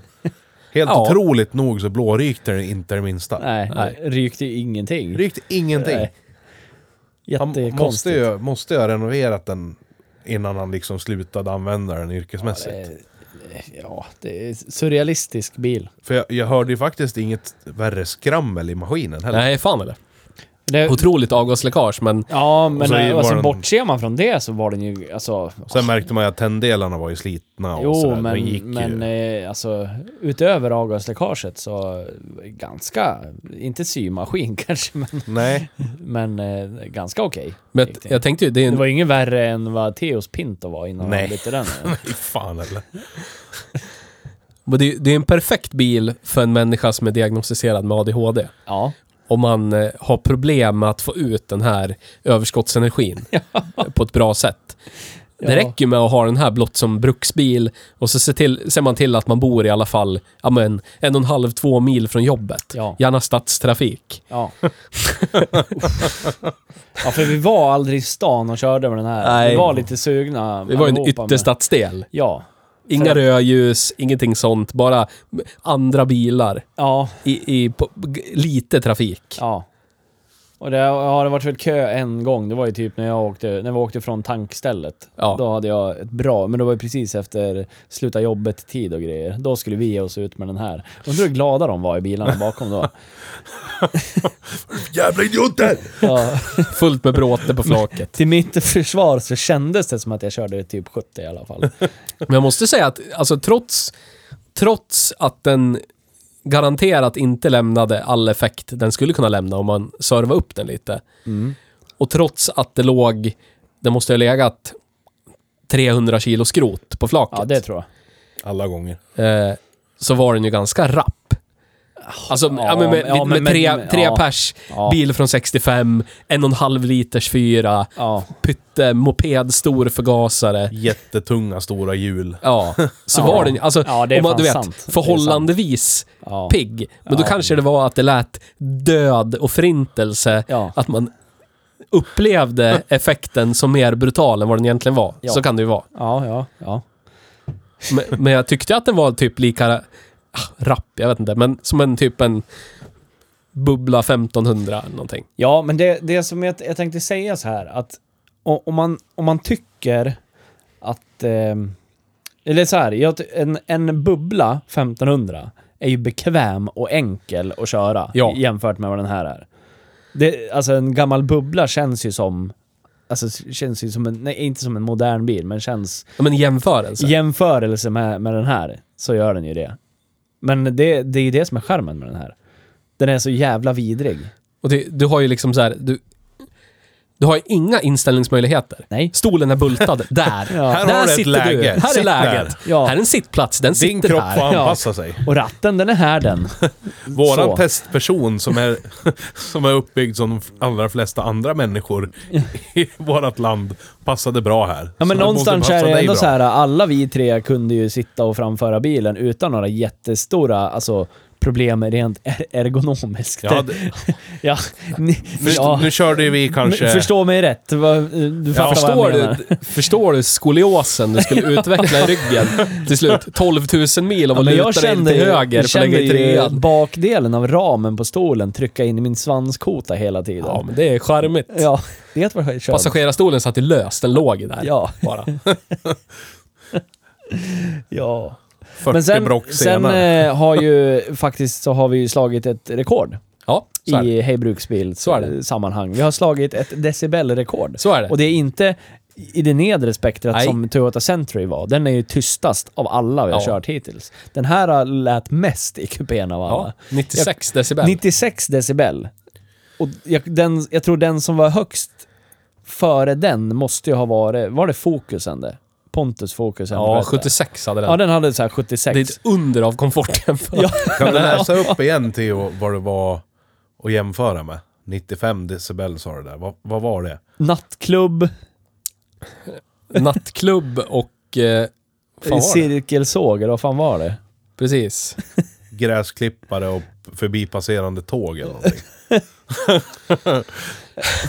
S1: Helt
S2: Ja.
S1: otroligt nog så blårykte den inte det minsta.
S3: Nej,
S2: Nej.
S3: rykte ju ingenting.
S1: Rykt ingenting.
S3: Nej.
S1: Han måste
S3: Jättekonstigt.
S1: ju, måste ju ha renoverat den innan han liksom slutade använda den yrkesmässigt.
S3: Eh, Ja, det är surrealistisk bil.
S1: För jag, jag hörde ju faktiskt inget värre skrammel i maskinen heller.
S2: Nej, fan eller?
S3: Det,
S2: Otroligt avgasläckage, men
S3: ja, men
S1: Och så är-
S3: alltså,
S1: var den-
S3: bortser man från det så var den ju... Alltså,
S1: Sen märkte man ju att tänddelarna var ju slitna och
S3: jo,
S1: sådär.
S3: men,
S1: den gick
S3: men
S1: ju.
S3: eh, alltså, utöver avgasläckaget så eh, ganska... Inte symaskin kanske, men,
S1: Nej,
S3: men eh, ganska okej.
S2: men
S3: Gick det.
S2: jag tänkte ju, det är
S3: Det
S2: en,
S3: var ju ingen värre än vad Theos Pinto var innan
S1: Nej.
S3: han bytte den.
S1: fy fan eller.
S2: men det är, det är en perfekt bil för en människa som är diagnostiserad med ADHD.
S3: Ja.
S2: Om man eh, har problem med att få ut den här överskottsenergin på ett bra sätt.
S3: Ja.
S2: Det räcker ju med att ha den här blott som bruksbil och så ser, till, ser man till att man bor i alla fall ja, men, en och en halv, två mil från jobbet.
S3: Ja.
S2: Gärna stadstrafik.
S3: Ja. ja, för vi var aldrig i stan och körde med den här. Vi
S2: Nej.
S3: var lite sugna.
S2: Det var ju en
S3: allihopa, men-
S2: ytterstadsdel.
S3: Ja.
S2: Inga
S3: För-
S2: rödljus, ingenting sånt. Bara andra bilar
S3: Ja,
S2: i, i på, g- lite trafik.
S3: ja. Och det har det varit väl kö en gång. Det var ju typ när jag åkte, när vi åkte från tankstället.
S2: Ja.
S3: Då hade jag ett bra, men det var ju precis efter sluta jobbet-tid och grejer. Då skulle vi ge oss ut med den här. Undrar hur glada de var i bilarna bakom då.
S1: Jävla idioter!
S3: Ja.
S2: Fullt med bråte på flaket.
S3: Till mitt försvar så kändes det som att jag körde typ 70 i alla fall.
S2: Men jag måste säga att alltså, trots, trots att den garanterat inte lämnade all effekt den skulle kunna lämna om man servade upp den lite.
S3: Mm.
S2: Och trots att det låg, det måste ha legat 300 kilo skrot på flaket.
S3: Ja, det tror jag.
S1: Alla gånger.
S2: eh, så var den ju ganska rapp. Alltså ja,
S3: ja,
S2: men med,
S3: ja,
S2: med,
S3: men-
S2: tre,
S3: men-
S2: tre
S3: ja.
S2: pers,
S3: Ja.
S2: bil från 65, en och en halv liters fyra,
S3: Ja.
S2: pytte, moped, stor förgasare.
S1: Jättetunga, stora hjul.
S2: Ja, så
S3: Ja.
S2: var den alltså,
S3: Ja, det är
S2: om man,
S3: fan
S2: du vet,
S3: sant. Det är
S2: förhållandevis
S3: Ja.
S2: pigg. Men då
S3: Ja.
S2: kanske det var att det lät död och förintelse.
S3: Ja.
S2: Att man upplevde effekten som mer brutal än vad den egentligen var.
S3: Ja.
S2: Så kan det ju vara.
S3: Ja, ja, ja.
S2: Men, men jag tyckte att den var typ lika ah, rapp, jag vet inte, men som en typ en bubbla 1500 eller någonting.
S3: Ja, men det, det som jag, jag tänkte säga så här att o- om man, om man tycker att... ehm, eller så här, jag, ty- en, en bubbla 1500 är ju bekväm och enkel att köra
S2: Ja.
S3: jämfört med vad den här är. Det, alltså en gammal bubbla känns ju som... Alltså känns ju som en, nej inte som en modern bil, men känns...
S2: Ja, Men i jämförelse.
S3: I jämförelse med, med den här så gör den ju det. Men det, det är ju det som är charmen med den här. Den är så jävla vidrig.
S2: Och det, du har ju liksom så här, du, du har ju inga inställningsmöjligheter.
S3: Nej.
S2: Stolen är bultad. Där.
S3: Ja.
S1: Här
S2: där
S1: har du ett
S2: sitter
S1: läge.
S2: du. Här är
S1: Sitt
S2: läget.
S3: där. Ja.
S2: Här är en sittplats. Den
S1: Din
S2: sitter
S1: kropp
S2: här.
S1: får anpassa sig.
S3: Och ratten, den är här den.
S1: Våran
S3: Så.
S1: testperson som är, som är uppbyggd som de allra flesta andra människor i vårt land passade bra här.
S3: Ja men
S1: Så det
S3: någonstans
S1: måste
S3: är
S1: passa
S3: det
S1: dig
S3: ändå
S1: bra.
S3: så här, alla vi tre kunde ju sitta och framföra bilen utan några jättestora alltså, problem rent er- ergonomiskt.
S1: Ja, det,
S3: ja. Ni,
S1: nu,
S3: ja.
S1: nu körde ju vi kanske...
S3: Men Förstå mig rätt. Vad- Du fattar
S2: Förstår
S3: vad jag menar.
S2: du, förstår du skoliosen du skulle utveckla i ryggen till slut? 12 000 mil av att
S3: men
S2: luta dig till
S3: ju-
S2: höger
S3: jag
S2: för att
S3: kände
S2: lägga i
S3: ju
S2: trean.
S3: bakdelen av ramen på stolen trycka in i min svanskota hela tiden.
S2: Ja, men det är charmigt.
S3: Ja, det var jag körde.
S2: Passagerarstolen satt ju lös, den låg ju där.
S3: Ja.
S2: Bara.
S3: Ja.
S1: 40
S3: Men sen,
S1: brock
S3: sen
S1: senare.
S3: eh, har ju faktiskt så har vi ju slagit ett rekord.
S2: Ja, så är det.
S3: i Hej Bruksbil
S2: Så är det.
S3: sammanhang. Vi har slagit ett decibelrekord.
S2: Så är det.
S3: Och det är inte i det nedre spektrat
S2: Nej.
S3: som Toyota Century var. Den är ju tystast av alla vi har
S2: Ja.
S3: kört hittills. Den här har lät mest i kupén av alla.
S2: Ja, 96 decibel.
S3: 96 decibel. Och jag, den, jag tror den som var högst före den måste ju ha varit, var det Focusen det? Pontus Focusen? vad
S2: ja,
S3: hette det?
S2: 76 hade den.
S3: Ja, den hade så här
S2: Det är
S3: 76.
S2: ett under av komforten. För.
S3: Ja.
S1: Kan du läsa upp igen Theo vad det var att jämföra med? 95 decibel sa du där. Vad, vad var det?
S3: Nattklubb,
S2: Nattklubb och... Eh, fan var det?
S3: cirkelsåg, eller vad fan var det?
S2: Precis.
S1: Gräsklippare och förbipasserande tåg eller någonting.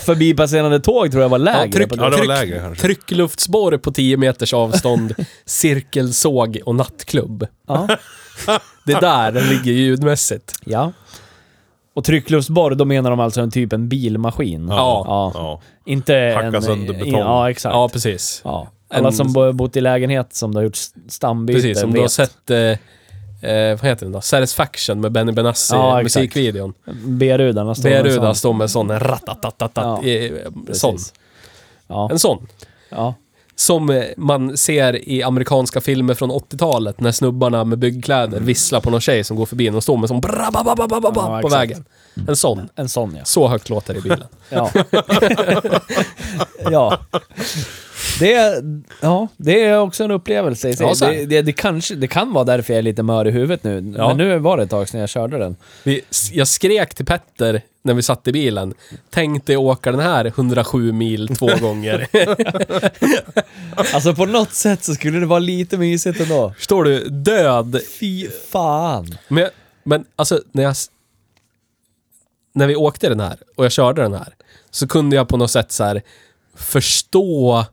S3: förbipasserande tåg tror jag var lägre.
S2: Ja, tryck,
S3: på
S1: Ja, det var
S2: tryck,
S1: lägre kanske.
S2: Tryckluftsborr på 10 meters avstånd, cirkelsåg och nattklubb.
S3: ja.
S2: Det är där den ligger ljudmässigt.
S3: ja. Och tryckluftsborr, då menar de alltså en typ en bilmaskin.
S2: Ja.
S3: ja.
S1: Ja.
S3: Inte
S1: Hacka
S3: en...
S1: sönder betong.
S3: Ja, exakt.
S2: Ja,
S3: Ja.
S2: precis.
S3: Alla
S2: En-
S3: som bo- bott i lägenhet som du har gjort s- stambyte
S2: Precis, som
S3: vet.
S2: du har sett... Eh, eh, vad heter den då? Satisfaction med Benny Benassi,
S3: Ja, exakt.
S2: musikvideon.
S3: B-rudan har stått med
S2: Beruda
S3: sån.
S2: står med en sån, en ratatatatata,
S3: Ja,
S2: eh,
S3: Precis.
S2: sån.
S3: Ja.
S2: En sån.
S3: ja.
S2: Som eh, man ser i amerikanska filmer från 80-talet när snubbarna med byggkläder visslar på någon tjej som går förbi en och står med en sån bra, ba, ba, ba, ba, ba,
S3: Mm. Ja,
S2: på
S3: exakt.
S2: vägen. En sån.
S3: En sån ja.
S2: Så högt låter det i bilen.
S3: Ja. ja. Det, ja. det är också en upplevelse i sig.
S2: Ja, så här.
S3: det, det, det, kanske, det kan vara därför jag är lite mör i huvudet nu.
S2: Ja.
S3: Men nu var det ett tag sedan jag körde den.
S2: Vi, jag skrek till Petter när vi satt i bilen. Tänk dig åka den här 107 mil två gånger.
S3: Alltså på något sätt så skulle det vara lite mysigt ändå.
S2: Förstår du? Död.
S3: Fy fan.
S2: Men, jag- men alltså, när jag... s- När vi åkte den här och jag körde den här så kunde jag på något sätt så här förstå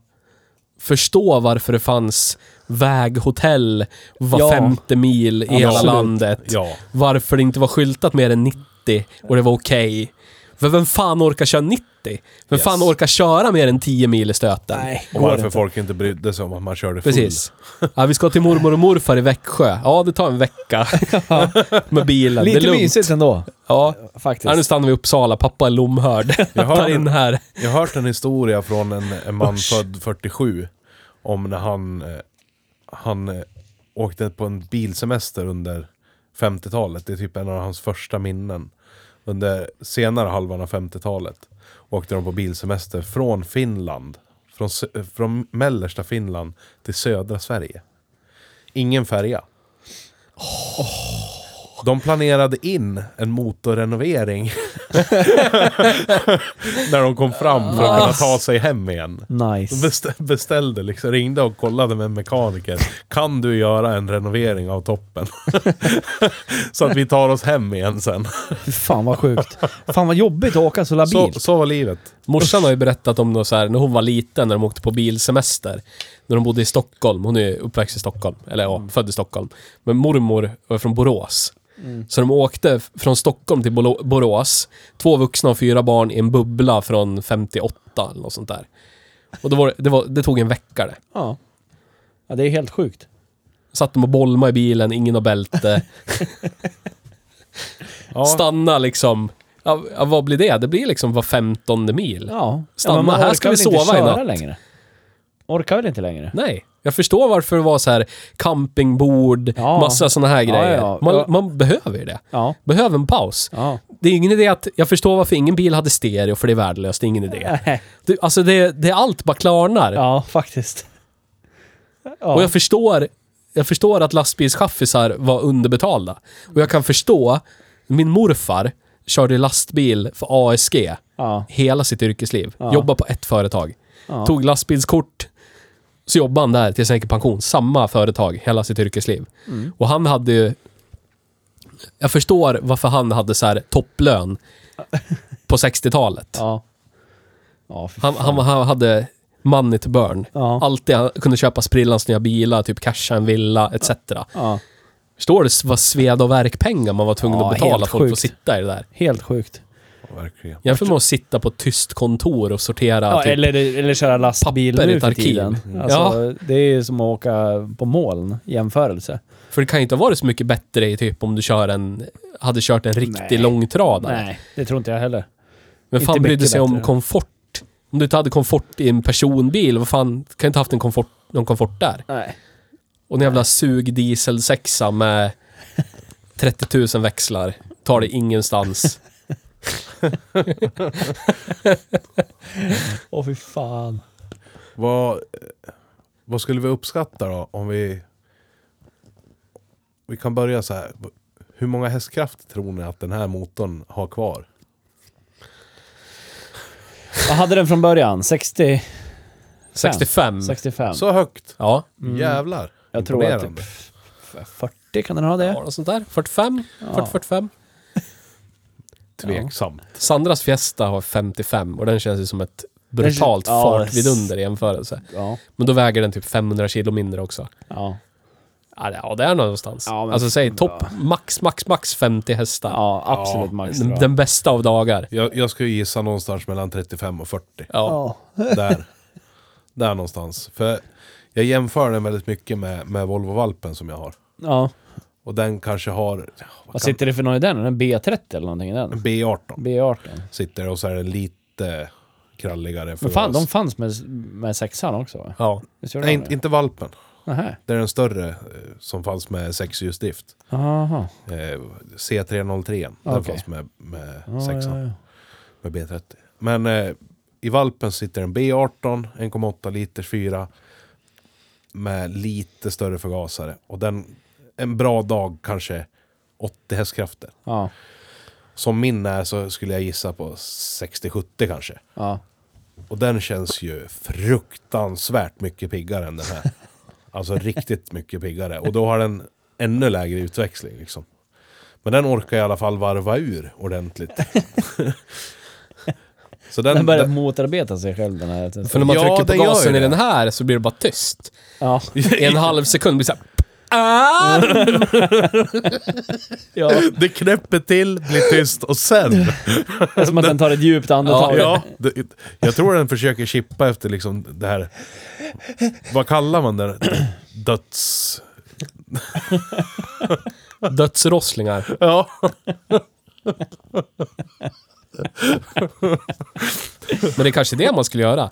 S2: förstå varför det fanns väghotell var
S3: Ja.
S2: femte mil i hela
S3: Absolut.
S2: landet.
S1: Ja.
S2: Varför det inte var skyltat mer än 90 och det var okej. För vem fan orkar köra 90? Vem
S3: Yes.
S2: fan orkar köra mer än 10 mil i stöten?
S1: Och
S3: går
S1: varför
S3: inte.
S1: folk inte brydde sig om att man körde full.
S2: Precis. Ja, vi ska till mormor och morfar i Växjö. Ja, det tar en vecka. Med bilen. det är
S3: Lite
S2: lugnt.
S3: mysigt ändå,
S2: Ja. Ja, nu
S3: faktiskt.
S2: stannar vi i Uppsala. Pappa är lomhörd.
S1: Jag
S2: Tar
S1: hörde,
S2: in
S1: en,
S2: här.
S1: jag har hört en historia från en, en man
S2: Usch.
S1: född 47. Om när han, eh, han eh, åkte på en bilsemester under 50-talet. Det är typ en av hans första minnen. Under senare halvan av 50-talet åkte de på bilsemester från Finland. Från, sö- eh, från mellersta Finland till södra Sverige. Ingen färja. De planerade in en motorrenovering när de kom fram för att kunna ta sig hem igen. De
S3: Nice.
S1: bestä- beställde, liksom, ringde och kollade med en mekaniker. Kan du göra en renovering av toppen? så att vi tar oss hem igen sen.
S3: Fy Fan vad sjukt. Fan vad jobbigt att åka så
S1: Så,
S3: labilt.
S1: så var livet.
S2: Morsan har ju berättat om något så här, när hon var liten, när de åkte på bilsemester. När de bodde i Stockholm. Hon är uppväxt i Stockholm. Eller ja, född i Stockholm. Men mormor var från Borås. Så de åkte f- från Stockholm till Bolo- Borås. Två vuxna och fyra barn i en bubbla från 58 eller något sånt där. Och det, var, det, det var, det tog en vecka det.
S3: Ja. ja, det är helt sjukt.
S2: Satt de och bolma i bilen, ingen har bälte.
S1: Ja.
S2: Stanna liksom. Ja, ja, vad blir det? Det blir liksom var femtonde mil.
S3: Ja.
S2: Stanna,
S3: ja, men man
S2: här
S3: orkar
S2: ska vi
S3: väl inte
S2: sova i
S3: köra
S2: natt.
S3: längre. Orkar väl inte längre?
S2: Nej. Jag förstår varför det var så här campingbord,
S3: Ja.
S2: massa sådana här
S3: Ja,
S2: grejer.
S3: ja, ja.
S2: Man,
S3: Ja.
S2: man behöver ju det.
S3: Ja.
S2: Behöver en paus.
S3: Ja.
S2: Det är ingen idé att... Jag förstår varför ingen bil hade stereo, för det är värdelöst. Det är ingen idé. Det, alltså, det, det är allt bara klarnar.
S3: Ja, faktiskt. Ja.
S2: Och jag förstår, jag förstår att lastbilschaffisar var underbetalda. Och jag kan förstå, min morfar körde lastbil för ASG
S3: ja.
S2: hela sitt yrkesliv.
S3: Ja.
S2: Jobbade på ett företag.
S3: Ja.
S2: Tog lastbilskort. Så jobbade han där tills han gick i pension. Samma företag hela sitt yrkesliv.
S3: Mm.
S2: Och han hade ju... Jag förstår varför han hade så här topplön på 60-talet.
S3: Ja. Ja, för
S2: Han,
S3: fan.
S2: han, han hade money to burn.
S3: Ja.
S2: Alltid han kunde köpa sprillans nya bilar, typ casha en villa etc.
S3: ja.
S2: Förstår du vad sveda och värkpengar man var tvungen
S3: Ja,
S2: att betala
S3: helt
S2: folk för att
S3: sjukt.
S2: sitta i det där?
S3: Helt sjukt.
S1: Verkligen.
S2: Jämför med att sitta på ett tyst kontor och sortera
S3: Ja,
S2: typ,
S3: eller, eller köra lastbil
S2: papper i
S3: nu
S2: ett
S3: för
S2: arkiv.
S3: tiden.
S2: Mm.
S3: Alltså,
S2: Ja.
S3: Det är ju som att åka på moln, jämförelse.
S2: För det kan ju inte ha varit så mycket bättre i typ om du kör en, hade kört en riktig
S3: Nej.
S2: långtradare.
S3: Nej, det tror inte jag heller.
S2: Men fan
S3: inte
S2: brydde
S3: mycket
S2: sig om
S3: bättre.
S2: komfort? Om du inte hade komfort i en personbil, vad fan, kan inte haft en komfort, någon komfort där?
S3: Nej.
S2: Och en jävla sugdieselsexa med 30 000 växlar. Tar det ingenstans.
S3: Åh fy fan.
S1: Vad, eh, vad skulle vi uppskatta då? Om vi... Vi kan börja så här. Hur många hästkrafter tror ni att den här motorn har kvar?
S3: Vad hade den från början? 60?
S2: 65.
S3: 65?
S1: Mm. Så högt?
S2: Ja.
S1: Jävlar.
S3: Mm. jag tror att typ
S1: Imponerande.
S3: 40 kan den ha det.
S2: ja, något sånt där. 45? 40, 45?
S1: Tveksam.
S2: Sandras Fiesta har 55 och den känns ju som ett brutalt
S3: Den kän- ja,
S2: fartvidunder i jämförelse.
S3: Ja.
S2: Men då väger den typ 500 kilo mindre också.
S3: Ja.
S2: Ja, det- ja, det är någonstans.
S3: Ja, men-
S2: alltså säg topp,
S3: Ja.
S2: max, max, max 50 hästar.
S3: ja, absolut max tror
S2: den,
S3: jag.
S2: den bästa av dagar.
S1: Jag, jag skulle gissa någonstans mellan 35 och 40.
S2: Ja.
S3: Ja.
S1: Där. Där någonstans. För jag jämför den väldigt mycket med, med Volvo-valpen som jag har.
S3: ja.
S1: Och den kanske har... ja,
S3: Vad
S1: kan-
S3: sitter det för någon i den? Är det En B30 eller någonting i den?
S1: En B18
S3: B18.
S1: sitter och så är den lite kralligare.
S3: Men fan, de
S1: förvaras.
S3: fanns med, med sexan också va?
S2: ja.
S3: Visst gjorde
S1: Nej,
S3: de
S1: inte, inte valpen.
S3: det? Nähä.
S1: Det är den större eh, som fanns med sexhjulsdrift.
S3: Aha.
S1: Eh, C303. Den
S3: Okej.
S1: fanns med, med
S3: Ja,
S1: sexan.
S3: ja, ja.
S1: Med B30. Men eh, i valpen sitter en B18, 1,8 liters 4. Med lite större förgasare. Och den, en bra dag kanske 80 hästkrafter.
S3: Ja,
S1: Som min är så skulle jag gissa på 60-70 kanske.
S3: ja.
S1: Och den känns ju fruktansvärt mycket piggare än den här. Alltså riktigt mycket piggare. Och då har den ännu lägre utväxling liksom. Men den orkar i alla fall varva ur ordentligt. så den...
S3: Den börjar
S1: den-
S3: motarbeta sig själv den här.
S2: För när man
S1: Ja,
S2: trycker på
S1: den gör ju
S2: gasen i
S1: det.
S2: den här så blir det bara tyst.
S3: Ja.
S2: I en halv sekund blir det så här, Ah! arm!
S3: Ja,
S1: Det knäpper till, blir tyst och sen...
S3: som att den tar ett djupt andetag.
S1: Ja, det, jag tror den försöker chippa efter liksom det här... Vad kallar man det? Döds...
S2: Dödsrosslingar.
S1: Ja.
S2: Men det är kanske det man skulle göra.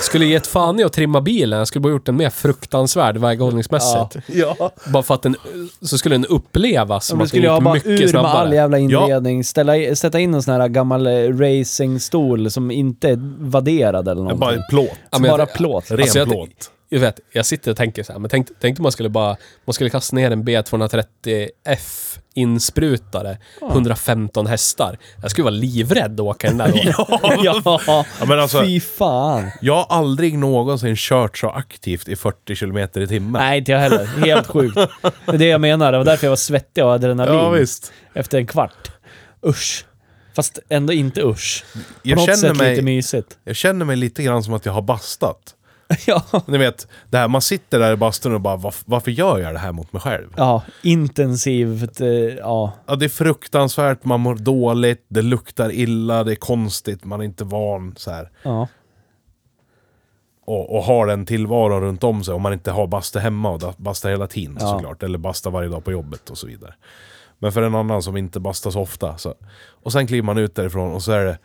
S2: Skulle gett fan i att trimma bilen. Jag skulle bara gjort den mer fruktansvärd väghållningsmässigt.
S1: ja.
S2: Bara för att den... Så skulle den upplevas som
S3: Men
S2: att den
S3: skulle jag ha
S2: gick
S3: bara
S2: mycket
S3: ur med all
S2: snabbare.
S3: jävla inredning, ställa, i- sätta in en sån här gammal eh, racingstol som inte är vadderad eller någonting.
S1: Bara
S3: Bara,
S1: plåt.
S2: Ja, men jag-
S3: plåt.
S1: Ren
S2: Alltså, jag-
S1: plåt.
S2: Jag vet, jag sitter och tänker så här, men tänk, tänk om man skulle bara... Man skulle kasta ner en B230F insprutare, 115 hästar. Jag skulle vara livrädd att åka den där då.
S3: Ja,
S1: Ja, men alltså,
S3: fy fan.
S1: jag har aldrig någonsin kört så aktivt i 40 km i timmen.
S3: Nej, inte jag heller. Helt sjukt. Det är det jag menar. Det var därför jag var svettig och adrenalin
S1: Ja, visst.
S3: efter en kvart. Usch. Fast ändå inte usch. På
S1: Jag
S3: något
S1: känner,
S3: sätt lite
S1: mig,
S3: mysigt.
S1: jag känner mig lite grann som att jag har bastat.
S3: ja.
S1: Ni vet, det här, man sitter där i bastun och bara "Varf- varför gör jag det här mot mig själv?
S3: ja, intensivt. eh, Ja.
S1: Ja, det är fruktansvärt, man mår dåligt, det luktar illa, det är konstigt, man är inte van så här.
S3: ja.
S1: Och, och har den tillvaron runt om sig om man inte har basta hemma och da- basta hela tiden
S3: Ja.
S1: såklart. Eller basta varje dag på jobbet och så vidare. Men för en annan som inte bastar så ofta. Så. Och sen kliver man ut därifrån och så är det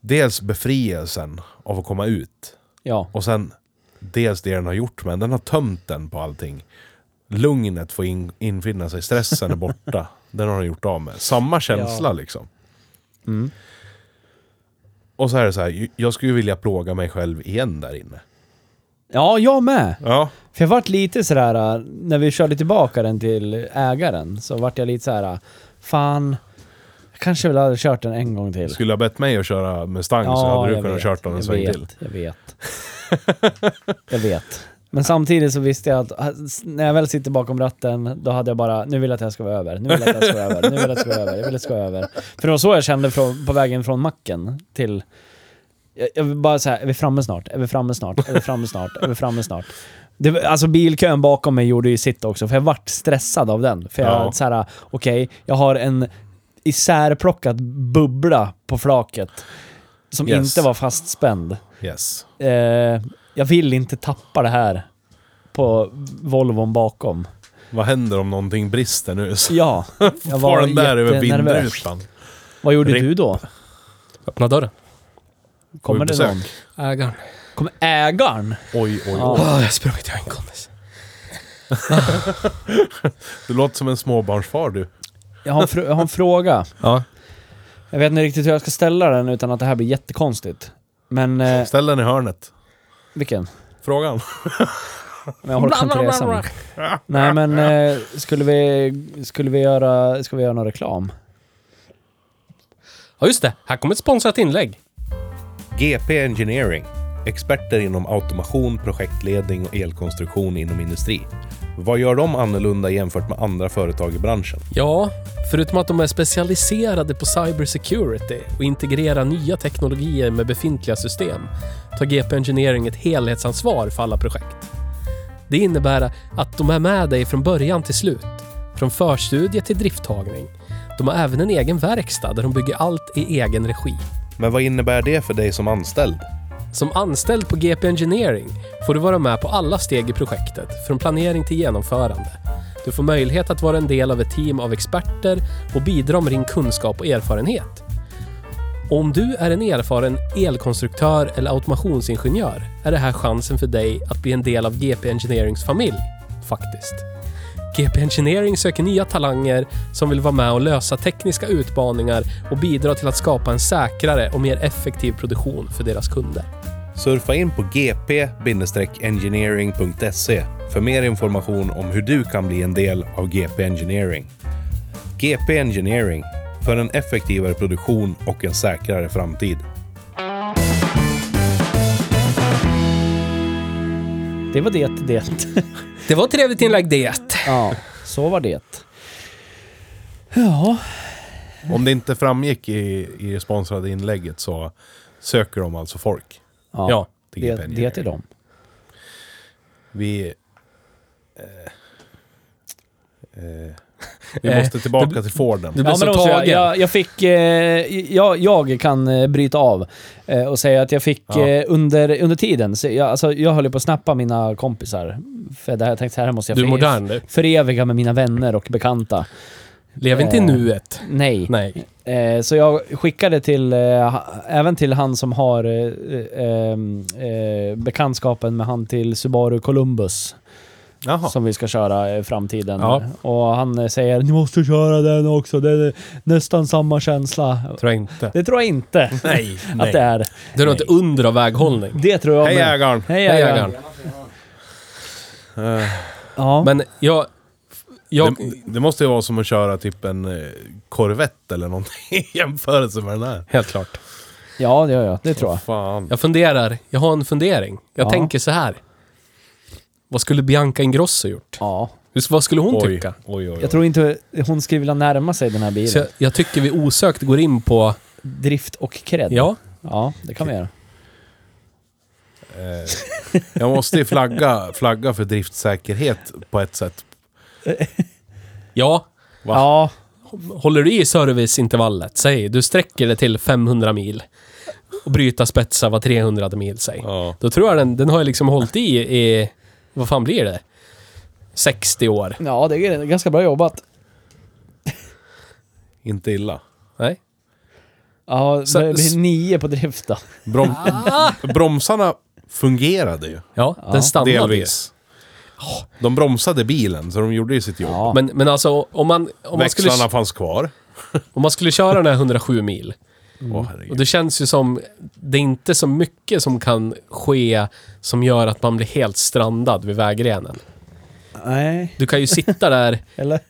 S1: dels befrielsen av att komma ut.
S3: Ja.
S1: Och sen dels det den har gjort men den har tömt den på allting. Lugnet får in, infinna sig, stressen är borta. Den har den gjort av med. Samma känsla
S3: Ja. Mm.
S1: liksom. Och så är det så här, ju- jag skulle ju vilja plåga mig själv igen där inne.
S3: Ja, jag med.
S1: Ja.
S3: För jag vart lite sådär, äh, när vi körde tillbaka den till ägaren, så vart jag lite såhär, äh, fan, jag kanske väl hade kört den en gång till.
S1: Skulle ha bett mig att köra Mustang så hade du
S3: jag
S1: kunnat
S3: vet,
S1: kört den en
S3: jag
S1: sväng
S3: vet,
S1: till.
S3: Jag vet. jag vet. Men samtidigt så visste jag att äh, s- när jag väl sitter bakom ratten, då hade jag bara, nu vill jag att jag ska vara över, nu vill jag att jag ska vara över, nu vill jag att jag ska vara över, jag vill att jag ska vara över. För det var så jag kände från, på vägen från macken till jag- jag vill bara säga, är vi framme snart? Är vi framme snart? Är vi framme snart? Är vi framme snart? Det, var- alltså bilkön bakom mig gjorde ju sitt också, för jag vart stressad av den. För jag,
S1: Ja.
S3: så här, okej, jag har en isärplockad bubbla på flaket som
S1: Yes.
S3: inte var fastspänd.
S1: Yes.
S3: Eh, jag vill inte tappa det här på Volvon bakom.
S1: Vad händer om någonting brister nu? Så
S3: Ja, jag
S1: far
S3: var
S1: den där över
S3: jättenervös.
S1: vindrutan.
S3: Vad gjorde
S1: Ring-
S3: du då?
S2: Öppna dörren.
S3: Kommer det
S1: besök.
S3: någon?
S2: Ägaren.
S3: Kommer ägaren?
S1: Oj, oj,
S3: Ja.
S1: oj.
S2: Åh, jag har sprungit till en kompis.
S1: Du låter som en småbarnsfar du.
S3: Jag har en, fr- jag har en fråga.
S2: Ja.
S3: Jag vet inte riktigt hur jag ska ställa den utan att det här blir jättekonstigt. Men, eh,
S1: Ställ den i hörnet.
S3: vilken?
S1: Frågan.
S3: Men jag orkar inte resa mig. Nej men, eh, skulle vi, skulle vi göra, ska vi göra någon reklam?
S2: Ja, just det. Här kommer ett sponsrat inlägg.
S1: GP Engineering. Experter inom automation, projektledning och elkonstruktion inom industri. Vad gör de annorlunda jämfört med andra företag i branschen?
S2: Ja, förutom att de är specialiserade på cybersecurity och integrerar nya teknologier med befintliga system tar GP Engineering ett helhetsansvar för alla projekt. Det innebär att de är med dig från början till slut, från förstudie till drifttagning. De har även en egen verkstad där de bygger allt i egen regi.
S1: Men vad innebär det för dig som anställd?
S2: Som anställd på GP Engineering får du vara med på alla steg i projektet, från planering till genomförande. Du får möjlighet att vara en del av ett team av experter och bidra med din kunskap och erfarenhet. Om du är en erfaren elkonstruktör eller automationsingenjör är det här chansen för dig att bli en del av GP Engineerings familj, faktiskt. GP Engineering söker nya talanger som vill vara med och lösa tekniska utmaningar och bidra till att skapa en säkrare och mer effektiv produktion för deras kunder.
S1: Surfa in på gp-engineering.se för mer information om hur du kan bli en del av GP Engineering. GP Engineering, för en effektivare produktion och en säkrare framtid.
S3: Det var det, det.
S2: Det var ett trevligt inlägg det.
S3: Ja, så var det. Ja,
S1: Om det inte framgick i, i det sponsrade inlägget så söker de alltså folk
S3: ja,
S2: Ja.
S1: till
S3: det,
S1: GP
S3: det
S1: Engineering.
S3: till dem.
S1: Vi... Eh, Eh, vi måste tillbaka till Forden.
S2: Du blir
S3: men
S2: så
S3: då måste
S2: tagen.
S3: Jag, jag, jag fick... Eh, jag, jag kan eh, bryta av eh, och säga att jag fick
S1: Ja.
S3: eh, under, under tiden, så jag, alltså, jag höll ju på att snappa mina kompisar. För det här, jag tänkte, så här måste jag
S2: Du är
S3: för-
S2: modern du.
S3: föreviga med mina vänner och bekanta.
S2: Lev inte i
S3: Eh.
S2: nuet.
S3: Nej.
S2: Nej.
S3: Eh, så jag skickade till, eh, ha- även till han som har eh, eh, eh, bekantskapen med han till Subaru Columbus.
S1: Jaha.
S3: som vi ska köra i framtiden.
S2: Ja.
S3: Och han eh, säger ni måste köra den också, det är nästan samma känsla.
S2: Tror jag inte.
S3: Det tror jag inte
S1: Nej,
S3: att det är.
S2: Det är nog ett under av väghållning.
S3: Det tror jag
S1: Hej
S3: med.
S1: ägaren!
S3: Hej
S2: Hej,
S3: ägaren.
S2: ägaren.
S1: Eh,
S3: Ja.
S2: Men jag... jag
S1: det, det måste ju vara som att köra typ en eh, Corvette eller någonting i jämförelse med den här.
S2: helt klart.
S3: ja, det gör jag. Det tror jag.
S1: Fan.
S2: Jag funderar. Jag har en fundering. Jag
S3: Ja.
S2: tänker så här. Vad skulle Bianca Ingrosso gjort?
S3: Ja.
S2: Hur- Vad skulle hon
S1: Oj,
S2: tycka?
S1: oj, oj.
S3: Jag tror inte hon skulle vilja närma sig den här
S2: Så jag,
S3: bilen.
S2: jag tycker vi osökt går in på...
S3: Drift och cred.
S2: Ja,
S3: Ja, det kan vi göra.
S1: Eh, jag måste ju flagga, flagga för driftsäkerhet på ett sätt.
S2: ja.
S1: Va?
S3: Ja,
S2: Håller du i serviceintervallet, säg du sträcker det till 500 mil och bryta spetsar var 300 mil, säg.
S1: Ja.
S2: Då tror jag den, den har ju liksom hållit i i, vad fan blir det? 60 år.
S3: ja, det är ganska bra jobbat.
S1: Inte illa.
S2: Nej?
S3: Ja,
S2: Så-
S3: det blir nio på drift då.
S1: Brom Bromsarna fungerade ju.
S2: Ja, den stannade
S1: Delvis. De bromsade bilen, så de gjorde ju sitt jobb.
S3: Ja.
S2: Men, men alltså om man, om, man skulle,
S1: Växlarna fanns kvar.
S2: om man skulle köra den här 107 mil.
S1: Åh,
S2: Och
S1: herregud.
S2: det känns ju som, det är inte så mycket som kan ske som gör att man blir helt strandad vid vägrenen.
S3: Nej,
S2: Du kan ju sitta där
S3: eller?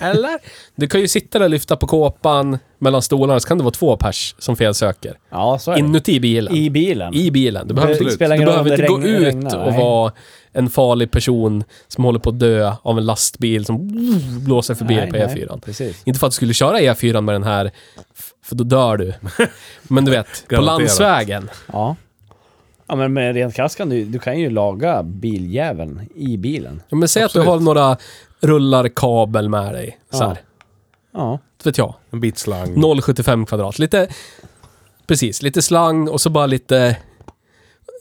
S2: Eller? Du kan ju sitta där och lyfta på kåpan mellan stolarna, så kan det vara två pers som felsöker.
S3: Ja, så är det.
S2: Inuti bilen. I,
S3: I bilen.
S2: bilen. Du behöver,
S1: absolut.
S3: spelar
S2: du
S3: ingen roll om
S2: behöver
S3: det
S2: inte gå
S3: regn-
S2: ut
S3: regnar,
S2: och
S3: nej.
S2: vara en farlig person som håller på att dö av en lastbil som blåser förbi dig på
S3: Nej,
S2: E4.
S3: nej, Precis.
S2: Inte för att du skulle köra E4 med den här, f- för då dör du. Men du vet, på
S1: Garanterat.
S2: landsvägen.
S3: Ja. Ja men med rent krasst kan du, du kan ju laga biljäveln i bilen.
S2: Ja, Men säg att
S1: Absolut.
S2: du har några rullar kabel med dig. Så här.
S3: Ja. Ja.
S2: Inte vet jag.
S1: En bit slang.
S2: 0,75 kvadrat. Lite, precis, lite slang och så bara lite,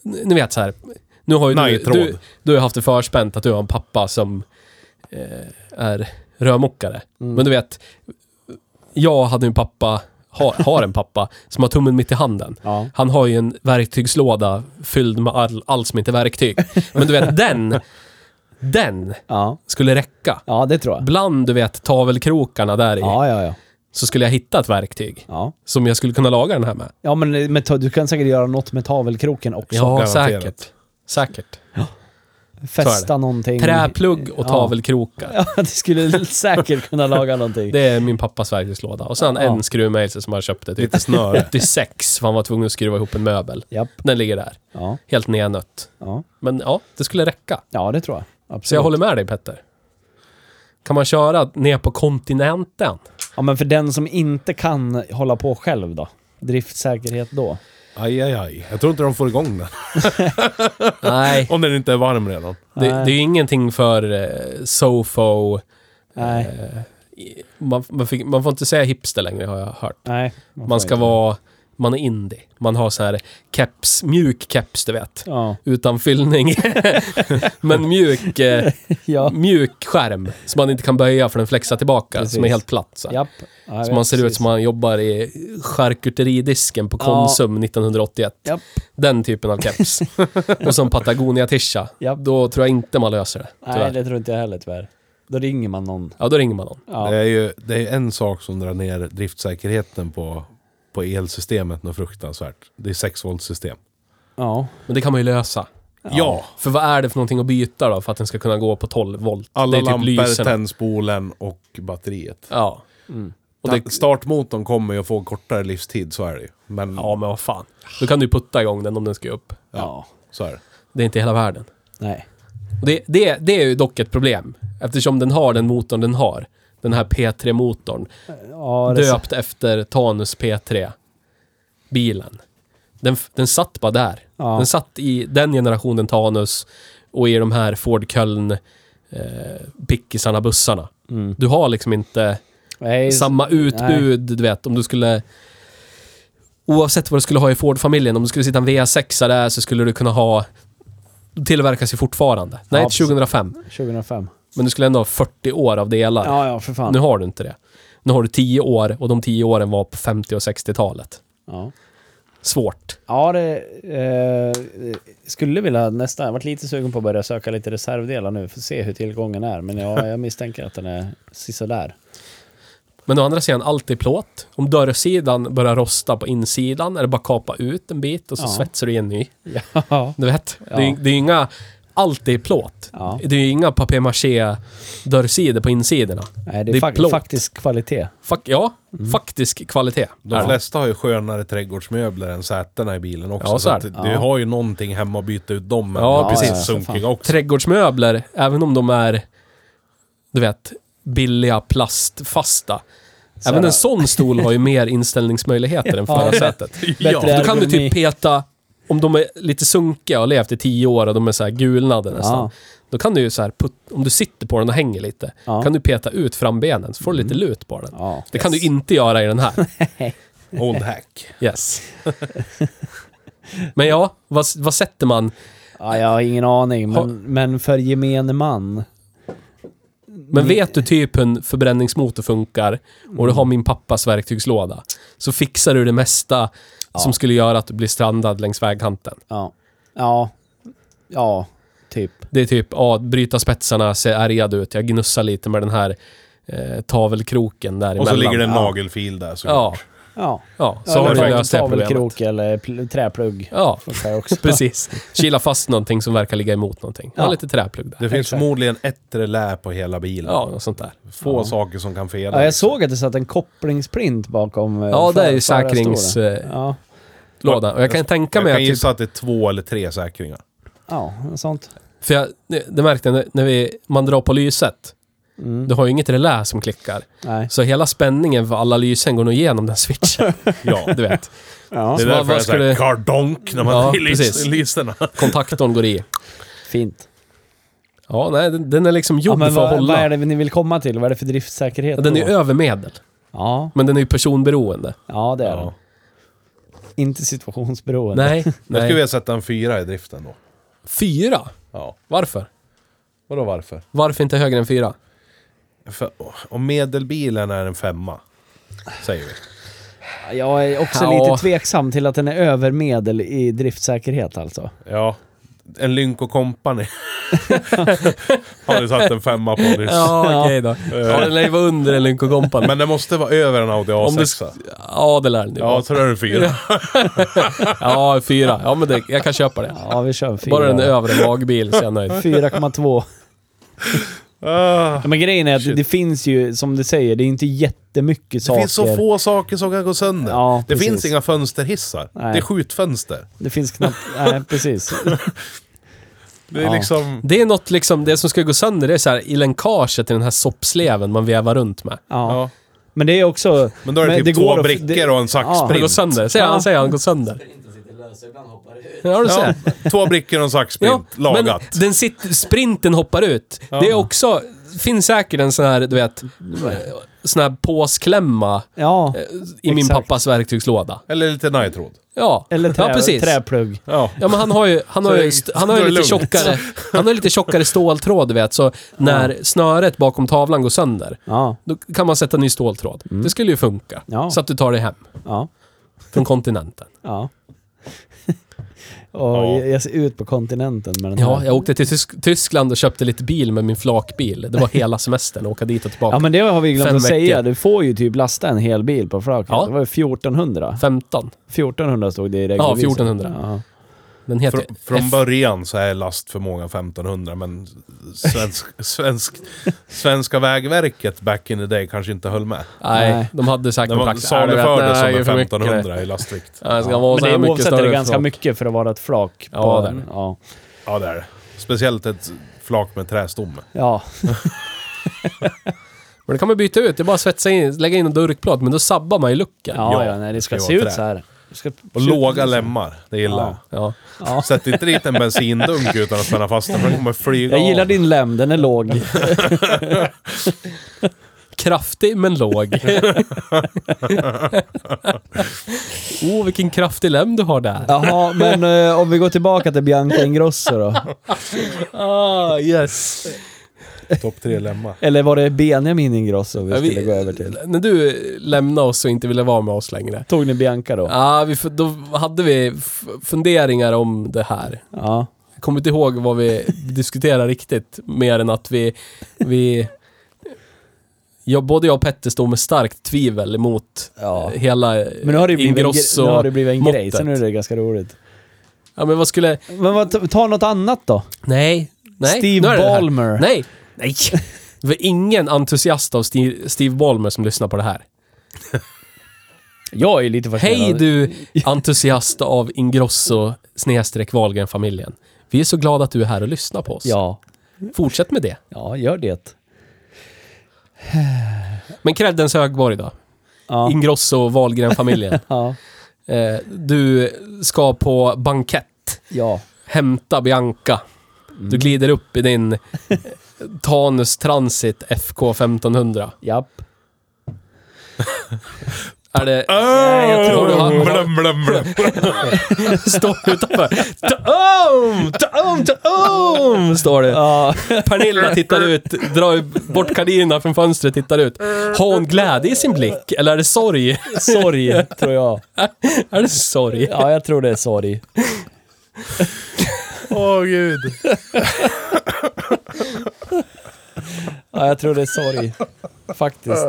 S2: ni vet så här. Nu har ju du,
S1: Nighttråd.
S2: du, du har haft det förspänt att du har en pappa som eh, är rörmokare. Men du vet, jag hade en pappa, har, har en pappa, som har tummen mitt i handen.
S3: Ja.
S2: Han har ju en verktygslåda fylld med all, allt som inte är verktyg. Men du vet, den, den
S3: Ja.
S2: skulle räcka.
S3: Ja, det tror jag.
S2: Bland, du vet, tavelkrokarna där i,
S3: Ja, ja, ja.
S2: så skulle jag hitta ett verktyg
S3: Ja,
S2: som jag skulle kunna laga den här med.
S3: ja men med, ta- du kan säkert göra något med tavelkroken också.
S2: Ja,
S1: garanterat.
S2: säkert. Säkert. så är
S3: Fästa någonting.
S2: Träplugg och
S3: Ja.
S2: tavelkrokar.
S3: Ja, det skulle säkert kunna laga någonting.
S2: Det är min pappas verktygslåda. Och sen
S3: Ja.
S2: en skruvmejsel som han köpte typ
S1: Lite snöre.
S2: 86, för han var tvungen att skruva ihop en möbel.
S3: Japp.
S2: Den ligger där,
S3: Ja,
S2: helt nednött.
S3: ja.
S2: Men ja, det skulle räcka.
S3: Ja, det tror jag. Absolut.
S2: Så jag håller med dig Petter. Kan man köra ner på kontinenten?
S3: Ja, men för den som inte kan hålla på själv då? Driftsäkerhet då?
S1: Aj, aj, aj. Jag tror inte de får igång den.
S2: Nej,
S1: Om den inte är varm redan.
S2: det, det är ju ingenting för eh, sofo.
S3: Nej.
S2: Man, man, fick, man får inte säga hipster längre har jag hört.
S3: Nej.
S2: Man
S3: får
S2: ska
S3: inte.
S2: vara... Man är indie. Man har så här keps, mjuk keps, du vet.
S3: Ja.
S2: Utan fyllning. Men mjuk, eh,
S3: Ja.
S2: mjuk skärm. Som man inte kan böja för den flexar tillbaka.
S3: Precis.
S2: Som är helt platt. Så, här.
S3: Japp. Ja, jag
S2: så
S3: vet
S2: man ser ut
S3: precis.
S2: som man jobbar i charkuteridisken på
S3: Ja.
S2: Konsum 1981.
S3: Japp.
S2: Den typen av keps. Och som Patagonia-tisha.
S3: Japp.
S2: Då tror jag inte man löser det.
S3: Nej,
S2: tyvärr.
S3: det tror inte jag heller tyvärr. Då ringer man någon.
S2: Ja, då ringer man någon.
S3: Ja.
S1: Det är ju det är en sak som drar ner driftsäkerheten på, på elsystemet något fruktansvärt. Det är 6 volt system.
S3: Ja.
S2: Men det kan man ju lösa.
S1: Ja!
S2: För vad är det för någonting att byta då för att den ska kunna gå på 12 volt?
S1: Alla
S2: det är typ
S1: lampor,
S2: lyserna.
S1: tändspolen och batteriet.
S2: Ja. Och
S1: Ta-
S2: det,
S1: Startmotorn kommer ju att få kortare livstid, så är det ju. Men
S3: Mm.
S2: ja, men vad fan. Då kan du ju putta igång den om den ska upp.
S3: Ja.
S1: så är det.
S2: Det är inte hela världen.
S3: Nej.
S2: Och det, det, det är ju dock ett problem. Eftersom den har den motorn den har. Den här P3-motorn.
S3: Ja, det
S2: Döpt efter Tanus P3. Bilen. Den, f- den satt bara där.
S3: Ja.
S2: Den satt i den generationen Tanus och i de här Ford Köln eh, pickisarna, bussarna.
S3: Mm.
S2: Du har liksom inte
S3: Nej,
S2: samma utbud, du vet, om du skulle... Oavsett vad du skulle ha i Ford-familjen, om du skulle sitta en V6 där så skulle du kunna ha... De tillverkas ju fortfarande. Nej,
S3: Ja, precis.
S2: 2005.
S3: 2005.
S2: Men du skulle ändå ha 40 år av delar.
S3: Ja, ja, för fan.
S2: Nu har du inte det. Nu har du 10 år och de 10 åren var på 50 och 60-talet.
S3: Ja,
S2: Svårt.
S3: ja det... Eh, skulle vilja nästan... Jag varit lite sugen på att börja söka lite reservdelar nu för att se hur tillgången är. Men jag, jag misstänker att den är sisådär.
S2: Men å andra sidan, allt i plåt. Om dörrsidan börjar rosta på insidan är det bara att kapa ut en bit och så
S3: Ja.
S2: svetsar du igen ny.
S3: Ja.
S2: Du vet,
S3: Ja.
S2: det, är, det är inga... Allt är plåt.
S3: Ja.
S2: Det är ju inga papier-maché-dörrsidor på insidorna.
S3: Nej, det är,
S2: Det är
S3: fak-
S2: plåt.
S3: faktisk kvalitet.
S2: Fak, ja,
S3: Mm.
S2: faktisk kvalitet.
S1: De
S2: är det.
S1: flesta har ju skönare trädgårdsmöbler än sätena i bilen också.
S2: Ja, så
S1: så
S2: är
S1: att
S2: det.
S1: du
S3: Ja.
S1: har ju någonting hemma att byta ut dem med.
S2: Ja,
S1: De är
S2: precis.
S1: lite Sunkiga också.
S2: Trädgårdsmöbler, även om de är, du vet, billiga plastfasta.
S3: Så
S2: även
S3: här.
S2: en sån stol har ju mer inställningsmöjligheter än
S3: Ja.
S2: förarsätet.
S3: Bättre
S2: Då kan du
S3: ergonomi.
S2: typ peta, om de är lite sunkiga och har levt i tio år och de är så här gulnade nästan.
S3: Ja.
S2: Då kan du ju så här, put, om du sitter på den och hänger lite,
S3: Ja. Mm.
S2: kan du peta ut frambenen så får du lite lut på den.
S3: Ja.
S2: Det kan du inte göra i den här.
S1: Old hack.
S2: Yes. Men ja, vad, vad sätter man?
S3: Ja, jag har ingen aning,
S2: Har-
S3: men, men för gemene man.
S2: Men
S3: Ni-
S2: vet du typ hur en förbränningsmotor funkar och du har min pappas verktygslåda, så fixar du det mesta
S3: Ja.
S2: som skulle göra att du blir strandad längs vägkanten.
S3: Ja. Ja. Ja, typ.
S2: Det är typ, ja, bryta spetsarna, se ärgad ut, jag gnussar lite med den här eh, tavelkroken där
S1: Och så ligger det en
S3: Ja.
S1: nagelfil där såklart.
S2: Ja,
S3: Ja.
S2: ja. Så
S3: Ja,
S2: har
S3: eller
S2: du
S3: en
S2: löst det här problemet.
S3: Tavelkrok eller pl- träplugg.
S2: Ja,
S3: Funkar ju också.
S2: precis. Kila fast någonting som verkar ligga emot någonting. Ja,
S3: Ja.
S2: lite träplugg där.
S1: Det finns
S3: Exakt.
S1: förmodligen ett relä på hela bilen.
S2: Ja, något sånt där.
S1: Få
S3: Ja.
S1: saker som kan fela.
S3: Ja, jag såg att det satt en kopplingsprint bakom eh,
S2: Ja, det är
S3: för-
S2: ju
S3: förarstolen.
S2: säkringslådan.
S3: Ja.
S2: Och jag kan tänka
S1: Jag
S2: mig
S1: kan
S2: att typ
S1: gissa att det är två eller tre säkringar.
S3: ja, något sånt.
S2: För jag, det det märkte jag när- när vi, man drar på lyset.
S3: Mm.
S2: Du har ju inget relä som klickar.
S3: Nej.
S2: Så hela spänningen för alla lysen går nog igenom den switchen.
S1: Ja.
S2: Du vet.
S3: Ja,
S1: Det är
S2: Så vad-
S1: därför
S2: vad
S1: det är
S2: ska
S1: såhär
S2: du-
S1: kardonk när man
S2: Ja,
S1: ja,
S2: precis.
S1: i listerna.
S2: Kontaktorn går i.
S3: fint.
S2: Ja, nej, den, den är liksom
S3: Ja,
S2: gjord
S3: men
S2: för att
S3: vad, vad
S2: hålla.
S3: är det ni vill komma till? Vad är det för driftsäkerhet?
S2: Ja, den är ju
S3: då?
S2: övermedel.
S3: Ja,
S2: Men den är ju personberoende.
S3: ja det är den.
S1: Ja.
S3: Inte situationsberoende.
S2: Nej,
S1: Jag skulle
S2: nej.
S1: vilja sätta en fyra i driften då.
S2: Fyra?
S1: Ja.
S2: Varför?
S1: Vadå varför?
S2: Varför inte högre än fyra?
S1: För, om medelbilen är en femma, säger vi.
S3: Jag är också
S2: Ja.
S3: lite tveksam till att den är över medel i driftsäkerhet alltså.
S1: Ja. En Lynk Company har du satt en femma på nyss.
S2: Ja, okej då. Ja, den lär ju vara under en Lynk Company.
S1: Men det måste vara över en Audi
S2: Om du
S1: A6.
S2: sk- Ja, det lär den ju
S1: Ja,
S2: vara.
S1: så är det fyra.
S2: Ja, fyra. Ja, men det, jag kan köpa det.
S3: Ja, vi kör en fyra.
S2: Bara den är över en magbil så är jag nöjd.
S3: 4,2.
S1: Ah.
S3: Ja, men grejen är att det finns ju, som du säger, det är inte jättemycket
S1: Det
S3: saker.
S1: finns så få saker som kan gå sönder.
S3: Ja,
S1: det
S3: precis.
S1: finns inga fönsterhissar.
S3: Nej.
S1: Det är skjutfönster.
S3: Det finns knappt... Nej, precis.
S1: Det är
S3: Ja.
S1: liksom...
S2: Det är något liksom, det som ska gå sönder det är så här i länkaget i den här soppsleven man vevar runt med.
S3: Ja.
S1: Ja.
S3: Men det är också...
S1: Men då är det
S3: men
S1: typ två
S3: att-
S1: brickor
S3: det-
S1: och en
S3: Ja,
S2: Har det
S1: saxsprint.
S2: gått sönder? Säger han,
S3: Ja.
S2: säger han gått sönder? Ja,
S1: Ja,
S2: du ser.
S1: två brickor och en
S2: Ja,
S1: saxsprint.
S2: men
S1: Lagat.
S2: den sitter, sprinten hoppar ut. Det är också, finns säkert en sån här, du vet, sån här påsklämma
S3: Ja.
S1: Eh,
S2: i min
S3: Exakt.
S2: pappas verktygslåda.
S1: Eller lite nitrod.
S2: Ja,
S3: Eller trä,
S2: ja precis.
S3: träplugg.
S1: Ja.
S2: Ja men han har ju, han har
S1: Så
S2: ju,
S1: det-
S2: st- han har ju
S1: då är det
S2: lite
S1: lugnt.
S2: tjockare, han har ju lite tjockare ståltråd du vet, så när snöret bakom tavlan går sönder,
S3: Ja.
S2: Då kan man sätta ny ståltråd. Det skulle ju funka.
S3: Mm. Ja.
S2: Så att du tar dig hem
S3: Ja.
S2: från kontinenten.
S3: Ja. och
S1: Ja.
S3: jag- jag ser ut på kontinenten med den
S2: Ja,
S3: här.
S2: jag åkte till Tysk- Tyskland och köpte lite bil med min flakbil. Det var hela semestern, åka dit och tillbaka.
S3: Ja men det har vi glömt
S2: Fem
S3: att säga.
S2: veckor.
S3: Du får ju typ lasta en hel bil på flaket.
S2: Ja.
S3: Det var ju 1400.
S2: 15.
S3: 1400 stod det i regeln.
S2: 1400.
S3: Ja.
S2: Den heter
S1: Frå- från
S2: F-
S1: början så är lastförmågan 1500 men svensk, svensk, Svenska Vägverket back in the day kanske inte höll med.
S2: Nej,
S3: Nej.
S2: de hade säkert
S1: När
S2: någon
S1: man
S2: praxis. Nej,
S1: salufördes som
S2: det är
S1: en
S2: för mycket det.
S1: 1500 i lastvikt.
S2: Ja, det ska vara
S3: Men
S2: så
S3: det
S2: här
S3: är
S2: mycket
S3: oavsett är det
S2: större
S3: ganska
S2: flak.
S3: mycket för att vara ett flak.
S2: Ja,
S3: på
S2: det är
S3: den.
S2: det.
S3: Ja.
S1: Ja det är det. Speciellt ett flak med trästomme.
S3: ja.
S2: Men det kan man byta ut. Det är bara att svetsa in, lägga in en durkplåt, men då sabbar man ju luckan.
S3: Ja,
S1: Ja,
S3: ja, nej, det ska
S1: det
S3: se
S1: ska vara
S3: ut
S1: trä.
S3: så här. Jag ska-
S1: Och låga lemmar, det gillar
S2: Ja.
S3: Ja.
S1: jag. Sätt inte dit en bensindunk utan att spänna fast den, för den kommer flyga
S3: Jag gillar
S1: av.
S3: din lem, den är låg.
S2: Kraftig men låg. Åh, oh, vilken kraftig lem du har där.
S3: Jaha, men eh, om vi går tillbaka till Bianca Ingrosso då.
S2: Ah, yes.
S1: Topp tre lemmar.
S3: Eller var det Benjamin Ingrosso vi
S2: Ja, vi-
S3: skulle gå över till?
S2: När du lämnade oss och inte ville vara med oss längre.
S3: Tog ni Bianca då?
S2: Ja, vi, f- då hade vi f- funderingar om det här.
S3: Ja.
S2: Jag kommer inte ihåg vad vi diskuterade riktigt, mer än att vi... vi jag, både jag och Petter stod med starkt tvivel emot
S3: Ja.
S2: eh, hela
S3: Men nu har det blivit en, gre-
S2: Ingrosso.
S3: nu har det blivit en grej,
S2: måttet.
S3: så nu är det ganska roligt.
S2: Ja, men vad skulle...
S3: Men vad, ta- ta något annat då.
S2: Nej. nej
S3: Steve
S2: nu är det det här.
S3: Ballmer.
S2: Nej. Nej. Det var ingen entusiast av Steve, Steve Ballmer som lyssnar på det här.
S3: Jag är lite fascinerad.
S2: Hej du entusiast av Ingrosso snedstreck Wahlgren-familjen. Vi är så glada att du är här och lyssnar på oss.
S3: Ja.
S2: Fortsätt med det.
S3: Ja, gör det.
S2: Men Creddens högborg då?
S3: Ja.
S2: Ingrosso och Wahlgren-familjen.
S3: Ja.
S2: eh, du ska på bankett.
S3: Ja.
S2: Hämta Bianca.
S3: Mm.
S2: Du glider upp i din eh, Tanus Transit FK 1500.
S3: Japp.
S2: Är det...
S1: Nej,
S2: jag tror du har-
S1: Blum, blum, blum.
S2: Står utanför. Ta-om! Ta-om! Ta-om! Står det.
S3: Ja.
S2: Pernilla tittar ut, drar bort gardinerna från fönstret, tittar ut. Har hon glädje i sin blick? Eller är det sorg?
S3: Sorg, tror jag.
S2: Är det sorg?
S3: Ja, jag tror det är sorg.
S1: Åh gud.
S3: Ja, jag tror det är sorg. Faktiskt.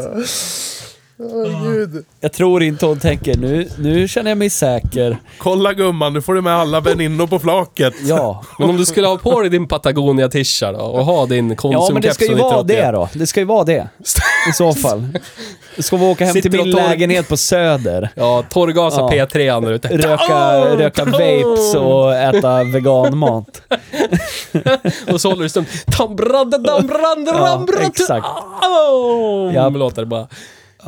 S1: gud.
S3: Jag tror inte hon tänker nu, nu känner jag mig säker.
S1: Kolla gumman, nu får du med alla väninnor på flaket.
S3: Ja.
S2: Men om du skulle ha på dig din Patagonia-tisha då och ha din
S3: Ja, men det
S2: Konsumkeps
S3: ska ju
S2: från
S3: vara
S2: 1981.
S3: det då. Det ska ju vara det. I så fall. Ska vi åka hem
S2: Sitter
S3: till min
S2: och tar-
S3: lägenhet på Söder?
S2: Ja, torrgasa
S3: Ja.
S2: P3 där ute.
S3: Röka,
S2: Oh!
S3: röka vapes och äta veganmat.
S2: Och så håller du stund. Tambrande, dambrande,
S3: Ja,
S2: rambrande.
S3: exakt.
S2: Au!
S3: Ja.
S2: Låter det bara.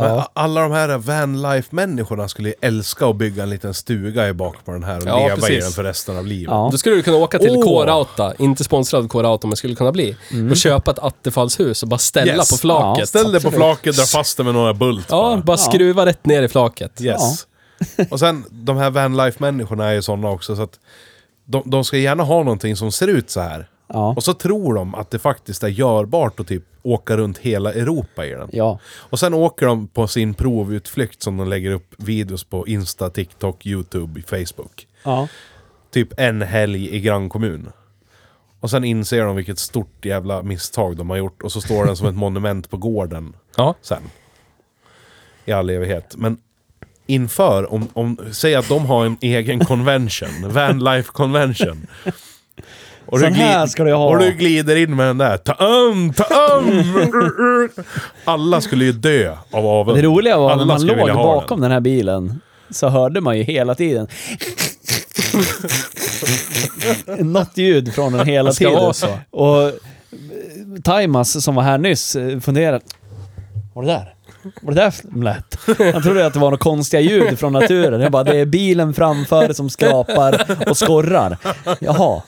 S1: Men a- alla de här vanlife-människorna skulle ju älska att bygga en liten stuga i bak på den här och
S2: Ja,
S1: leva i
S2: precis.
S1: den för resten av livet.
S3: Ja.
S2: Då skulle du kunna åka till
S1: Åh.
S2: K-Rauta, inte sponsrad K-Rauta, men skulle kunna bli. Och köpa ett Attefallshus och bara ställa
S1: Yes.
S2: på flaket.
S3: Mm. Ja,
S1: Ställ dig på flaket, dra fast det med några bult
S2: Ja, bara skruva rätt ner i flaket.
S1: Yes. Och sen, de här vanlife-människorna är ju sådana också så att de, de ska gärna ha någonting som ser ut så här.
S3: Ja.
S1: Och så tror de att det faktiskt är görbart att typ åka runt hela Europa i den.
S3: Ja.
S1: Och sen åker de på sin provutflykt som de lägger upp videos på Insta, TikTok, YouTube, Facebook.
S3: Ja.
S1: Typ en helg i grannkommun. Och sen inser de vilket stort jävla misstag de har gjort och så står den som ett monument på gården
S2: Ja.
S1: sen. I all evighet. Men inför, om, om, säg att de har en egen convention, vanlife convention. Och
S3: Sån här ska du ha.
S1: och du glider in med den där. Ta-um, ta-um! Alla skulle ju dö av avund.
S3: Det roliga var när
S1: Alla
S3: man
S1: skulle
S3: låg
S1: vilja ha
S3: bakom den. här bilen så hörde man ju hela tiden något ljud från den hela
S2: Det ska
S3: tiden.
S2: vara så.
S3: Och eh, Timas som var här nyss eh, funderade. Var det där? Var det där som lät? Han trodde att det var något konstiga ljud från naturen. Jag bara, det är bilen framför som skrapar och skorrar. Jaha.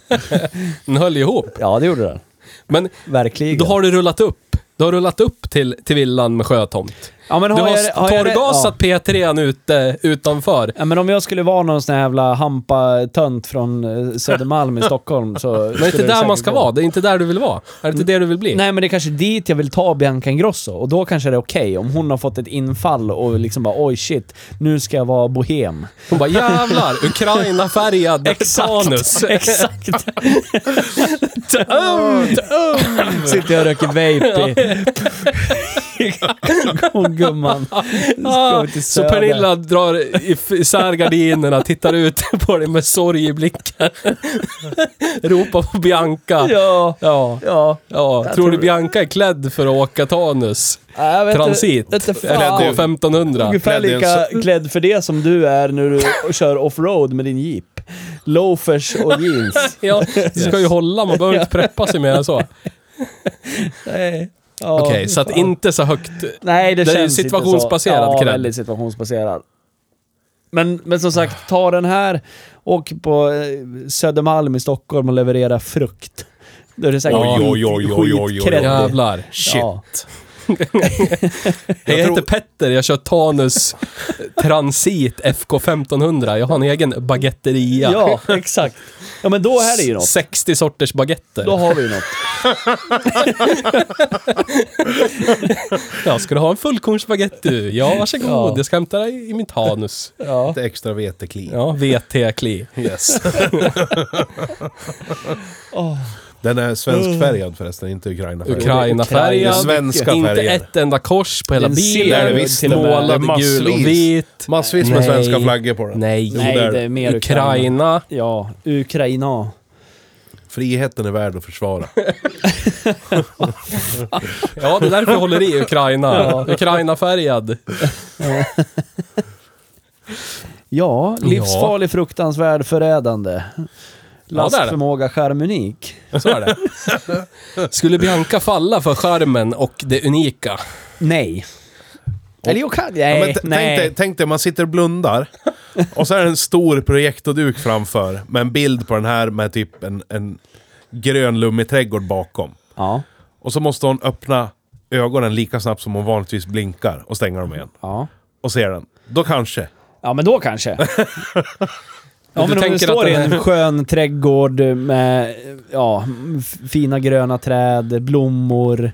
S2: Den höll ihop.
S3: Ja, det gjorde den.
S2: Men
S3: Verkligen.
S2: då har du rullat upp. Du har rullat upp till, till villan med sjötomt.
S3: ja, men
S2: du har,
S3: jag- har jag-
S2: torrgasat P3 ute utanför.
S3: Ja, men om jag skulle vara någon sån här jävla hampa-tönt från eh, Södermalm i Stockholm så...
S2: Men det är inte där man ska vara. Det är inte där du vill vara. Är det inte det du vill bli?
S3: Nej, men det är kanske dit jag vill ta Bianca Ingrosso och då kanske det är okej om hon har fått ett infall och liksom bara oj shit, nu ska jag vara bohem.
S2: Hon bara jävlar, Ukraina-färgad Tanus.
S3: Exakt!
S2: Ömt, ömt.
S3: Sitter jag och röker vape i... Hon gumman. Ska vi till
S2: Så
S3: Söder.
S2: Pernilla drar if- isär gardinerna, tittar ut på dig med sorg i blicken. Ropar på Bianca.
S3: Ja.
S2: Ja.
S3: Ja.
S2: ja.
S3: Jag
S2: Tror, du
S3: tror-
S2: Bianca är klädd för att åka Tanus?
S3: Ja, jag vet inte-
S2: Transit?
S3: vet inte fan.
S2: Eller K1500?
S3: Ungefär
S1: Klädd i en
S3: lika klädd för det som du är när du kör offroad med din jeep. Loafers och jeans.
S2: Ja, det ska ju hålla. Man behöver inte preppa sig mer än så.
S3: Nej. Ja,
S2: Okej,
S3: fy
S2: så att
S3: fan.
S2: inte så högt.
S3: Nej, det,
S2: det är ju
S3: känns inte så.
S2: situationsbaserad
S3: Ja,
S2: cred.
S3: väldigt situationsbaserad. Men, men som sagt, ta den här, åk på eh, Södermalm i Stockholm och leverera frukt. Då är det säkert
S1: Oj, oj, oj, oj, oj, oj, oj.
S3: skitkreddigt.
S2: Jävlar.
S1: Shit.
S3: Ja.
S2: Jag,
S1: Jag tror-
S2: heter Petter, jag kör Tanus Transit FK 1500. Jag har en egen baguetteria.
S3: Ja, exakt. Ja, men då är det ju något.
S2: 60 sorters baguetter.
S3: Då har vi ju något.
S2: Ja, ska du ha en fullkornsbaguette du? Ja, varsågod.
S3: Ja.
S2: Jag ska hämta dig i min Tanus.
S3: Ja.
S1: Lite extra vetekli.
S2: Ja, VT-kli.
S1: Yes.
S2: Ah.
S3: Åh.
S1: Den är svenskfärgad förresten, inte Ukraina-färgad.
S2: Ukraina-färgen.
S3: Ukraina.
S1: Svenska
S2: Inte
S1: färger.
S2: ett enda kors på hela
S3: Den
S1: ser det
S2: bilen.
S1: visst,
S3: till och med.
S1: Det är
S2: Målad
S1: massvis.
S2: gul och vit.
S1: Massvis med
S2: Nej.
S1: svenska flaggor på den.
S2: Nej.
S1: Jo, det är
S3: Nej, det
S1: det.
S3: är mer Ukraina.
S2: Ukraina.
S3: Ja, Ukraina.
S1: Friheten är värd att försvara.
S2: Ja, det är därför jag håller i Ukraina. Ukraina-färgad.
S3: Ja, livsfarlig, fruktansvärd, förrädande.
S2: Ja, det är det.
S3: Lastförmåga, charmunik.
S2: Så är det. Skulle Bianca falla för charmen och det unika?
S3: Nej. Eller jag kan...
S1: Ja,
S3: Nej,
S1: men t- tänk, dig,
S3: nej.
S1: tänk dig, man sitter och blundar. Och så är det en stor projektorduk framför. Med en bild på den här med typ en, en grön lummig trädgård bakom.
S3: Ja,
S1: Och så måste hon öppna ögonen lika snabbt som hon vanligtvis blinkar och stänga dem igen.
S3: ja.
S1: Och ser den. Då kanske.
S3: Ja, men då kanske. Ja, men om
S2: tänker
S3: du
S2: att
S3: står i
S2: den
S3: en
S2: är-
S3: skön trädgård med ja, f- fina gröna träd, blommor.
S2: Men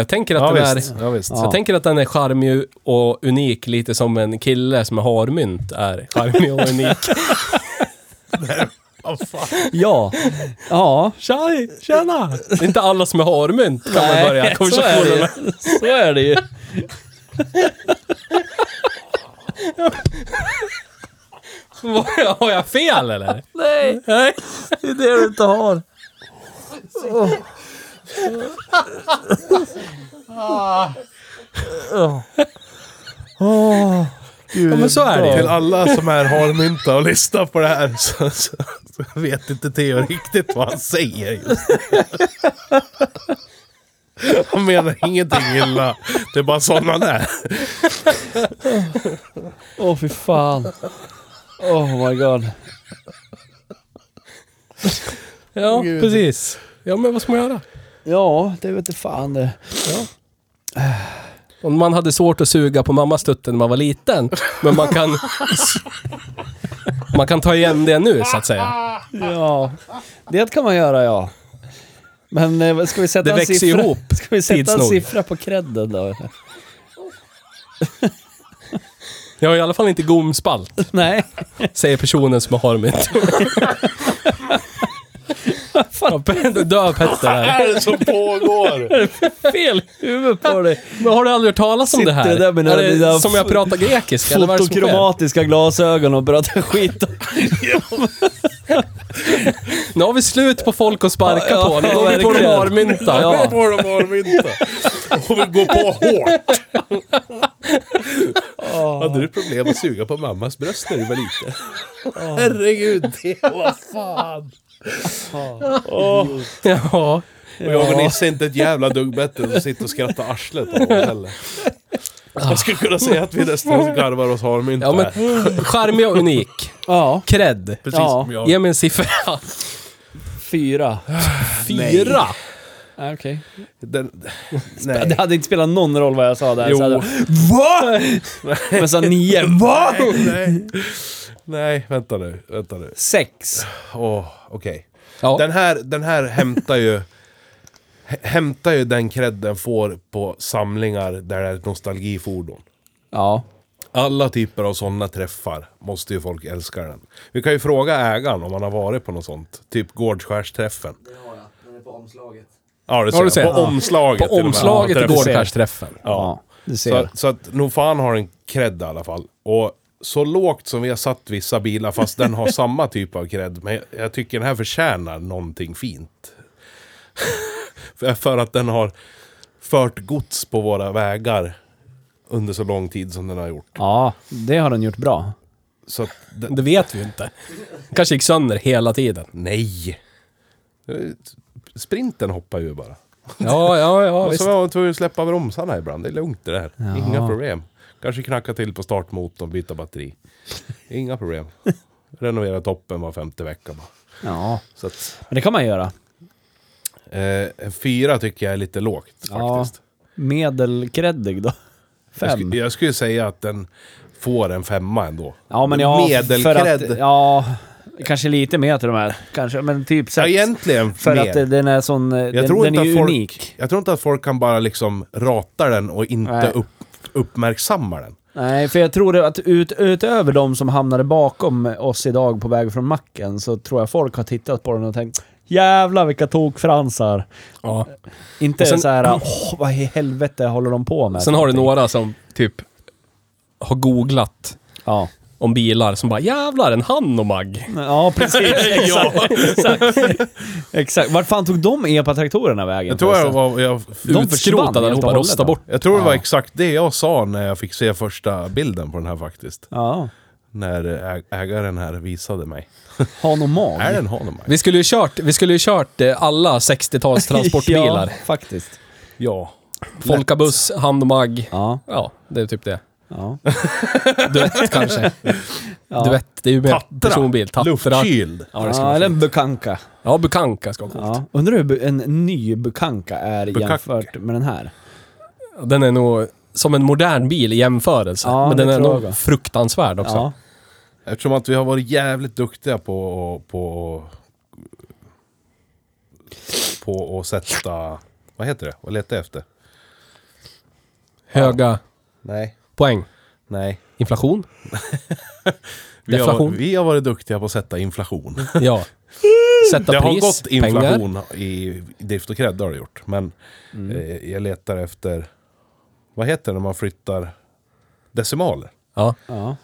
S2: jag tänker att
S1: Ja,
S2: den är...
S1: visst. ja visst.
S2: Så
S3: Ja.
S2: jag tänker att den är charmig och unik, lite som en kille som är harmynt är charmig och unik.
S3: Ja. Ja.
S2: Tja, tjena! Det är inte alla som är harmynt kan man börja
S3: så är det ju.
S2: konversationen
S3: Så är det ju.
S2: med. Har jag fel eller?
S3: Nej,
S2: Nej.
S3: det är det du inte har. Åh,
S2: Ja, men så är det
S1: Till
S2: ju.
S1: alla som är harmynta och lyssnar på det här så, så, så vet inte Theo riktigt vad han säger just nu. Han menar ingenting illa. Det är bara sån han är.
S3: Åh, fy fan. Oh my god.
S2: Ja, precis. Ja, men vad ska man göra?
S3: Ja, det vet inte fan det.
S2: Om man hade svårt att suga på mammas tutte när man var liten, men man kan... Man kan ta igen det nu, så att säga.
S3: Ja, det kan man göra ja. Men eh, vad ska vi sätta
S2: Det
S3: en
S2: växer
S3: siffra?
S2: ihop,
S3: Ska vi sätta
S2: tids
S3: en
S2: nog.
S3: siffra på credden då?
S2: Jag har i alla fall inte gomspalt,
S3: Nej.
S2: säger personen som har harmynt. Ja, Petter- Dö Petter här.
S1: är det som pågår?
S3: Fel huvud på dig.
S2: Men har du aldrig hört talas om
S3: Sitter
S2: det här?
S3: där med
S2: är
S3: dina- dina
S2: det som jag pratar grekiska? eller vad är det som sker?
S3: Fotokromatiska glasögon och pratar skit.
S2: Nu har vi slut på folk att sparka
S3: Ja,
S2: på. Nu
S3: ja,
S2: går vi på de
S3: verkligen.
S2: harmynta.
S3: Ja.
S1: På de harmynta. Och vi går på hårt.
S2: Ah.
S1: Hade du problem att suga på mammas bröst när du var liten?
S2: Ah.
S1: Herregud, det vad fan.
S2: Ah.
S1: Ah.
S2: Ja.
S1: Och jag och Nisse är inte ett jävla dugg bättre än att sitta och skratta arslet av oss heller. Jag skulle kunna säga att vi nästan garvar oss harmynta.
S2: Ah. ja, men ch- charmig och unik.
S3: Ja,
S2: Cred.
S1: Precis
S3: ja.
S1: som jag.
S2: Ge mig en siffra.
S3: fyra.
S2: Fyra.
S3: Ah, Okej.
S1: Den,
S3: Det
S1: nej.
S3: hade inte spelat någon roll vad jag sa där.
S1: Jo.
S3: Så hade, jag, Va? Men så nio. Va?
S1: Nej. nej, vänta nu. Vänta nu.
S3: Sex.
S1: Åh, okej.
S2: Ja.
S1: Den, här, den här hämtar ju... hä- Hämtar ju den cred den får på samlingar där det är ett nostalgifordon.
S3: Ja.
S1: Alla typer av sådana träffar måste ju folk älska den. Vi kan ju fråga ägaren om han har varit på något sånt. Typ Gårdskärsträffen. Det har jag. Den
S2: Ja,
S1: är
S2: du
S1: på omslaget. Ja, det ser jag.
S2: ser.
S1: På
S2: Ja.
S1: omslaget
S2: På
S1: till och med.
S2: omslaget
S1: Ja,
S2: till
S1: träffen.
S2: gårdskärsträffen.
S3: Ja, du ser.
S1: Så, att- så att nog fan har den cred i alla fall. Och så lågt som vi har satt vissa bilar, fast den har samma typ av cred. Men jag, jag tycker den här förtjänar någonting fint. för, för att den har fört gods på våra vägar under så lång tid som den har gjort.
S3: Ja, det har den gjort bra.
S1: Så att, den,
S2: Det vet vi ju inte. kanske gick sönder hela tiden.
S1: nej! Eh, Sprinten hoppar ju bara.
S2: Ja, ja, ja.
S1: Och
S2: Visst.
S1: så var jag tvungen att släppa bromsarna ibland. Det är lugnt det där. Inga problem. Kanske knacka till på startmotorn, byta batteri. Inga problem. Renovera toppen var femte vecka bara.
S3: Ja.
S1: Så att,
S3: Men det kan man göra.
S1: eh, en fyra tycker jag är lite lågt
S3: Ja.
S1: faktiskt.
S3: Medelkreddig då?
S1: Jag,
S3: Fem?
S1: skulle, jag skulle säga att den får en femma ändå.
S3: Ja men ja, för
S1: Medelkredd.
S3: att, ja, kanske lite mer till de här. Kanske, men typ
S1: Ja,
S3: sex.
S1: egentligen
S3: för
S1: mer.
S3: att eh, den är sån, eh, den,
S1: tror
S3: den är
S1: inte
S3: ju
S1: att folk-
S3: unik.
S1: Jag tror inte att folk kan bara liksom rata den och inte
S3: Nej.
S1: upp, uppmärksamma den.
S3: Nej, för jag tror det att ut, utöver de som hamnade bakom oss idag på väg från macken så tror jag folk har tittat på den och tänkt Jävlar vilka tokfransar!
S2: Ja.
S3: Inte
S2: Och sen-
S3: så här, åh vad i helvete håller de på med?
S2: Sen har du några som typ har googlat
S3: Ja,
S2: om bilar som bara jävlar en Hanomag.
S3: ja precis.
S2: ja.
S3: Exakt. Vart fan tog de epatraktorerna vägen?
S1: Jag tror jag
S3: förresten?
S1: var, jag,
S3: De försvann helt och
S2: Utskrotad allihopa,
S3: hållet,
S2: rosta
S3: då.
S2: bort.
S1: jag tror det var exakt det jag sa när jag fick se första bilden på den här faktiskt.
S3: Ja.
S1: När ä- ägaren här visade mig.
S3: Hanomag.
S1: Är den Hanemaj?
S2: Vi skulle ju kört, vi skulle ju kört eh, alla 60-tals transportbilar.
S3: Ja, faktiskt.
S1: Ja.
S2: Folkabuss, Hanomag.
S3: Ja.
S2: Ja, det är typ det.
S3: Ja.
S2: Duett kanske.
S3: Ja.
S2: Duett, det är ju mer personbil.
S1: Tatra!
S2: Tatra.
S1: Luftkyld!
S2: Ja, det ska
S3: Ja,
S2: vara
S3: eller
S2: fint.
S3: en bukanka.
S2: Ja, Bukanka ska vara coolt.
S3: Ja. Undrar hur bu- en ny bukanka är
S1: Bukkake.
S3: jämfört med den här.
S2: Den är nog som en modern bil i jämförelse.
S3: Ja,
S2: men den
S3: det
S2: är
S3: tror
S2: nog
S3: jag.
S2: fruktansvärd också.
S3: Ja.
S1: Eftersom att vi har varit jävligt duktiga på på, på att sätta... Vad heter det? Vad letar jag efter?
S2: Höga
S1: Nej.
S2: poäng.
S1: Nej.
S2: Inflation?
S1: Vi har,
S2: Deflation.
S1: vi har varit duktiga på att sätta inflation.
S2: Ja. Sätta
S1: Det har
S2: pris,
S1: gått
S2: pengar. Mm.
S1: inflation i drift och cred, det har det gjort. Men eh, jag letar efter... Vad heter det när man flyttar decimaler?
S2: Ja.
S3: ja.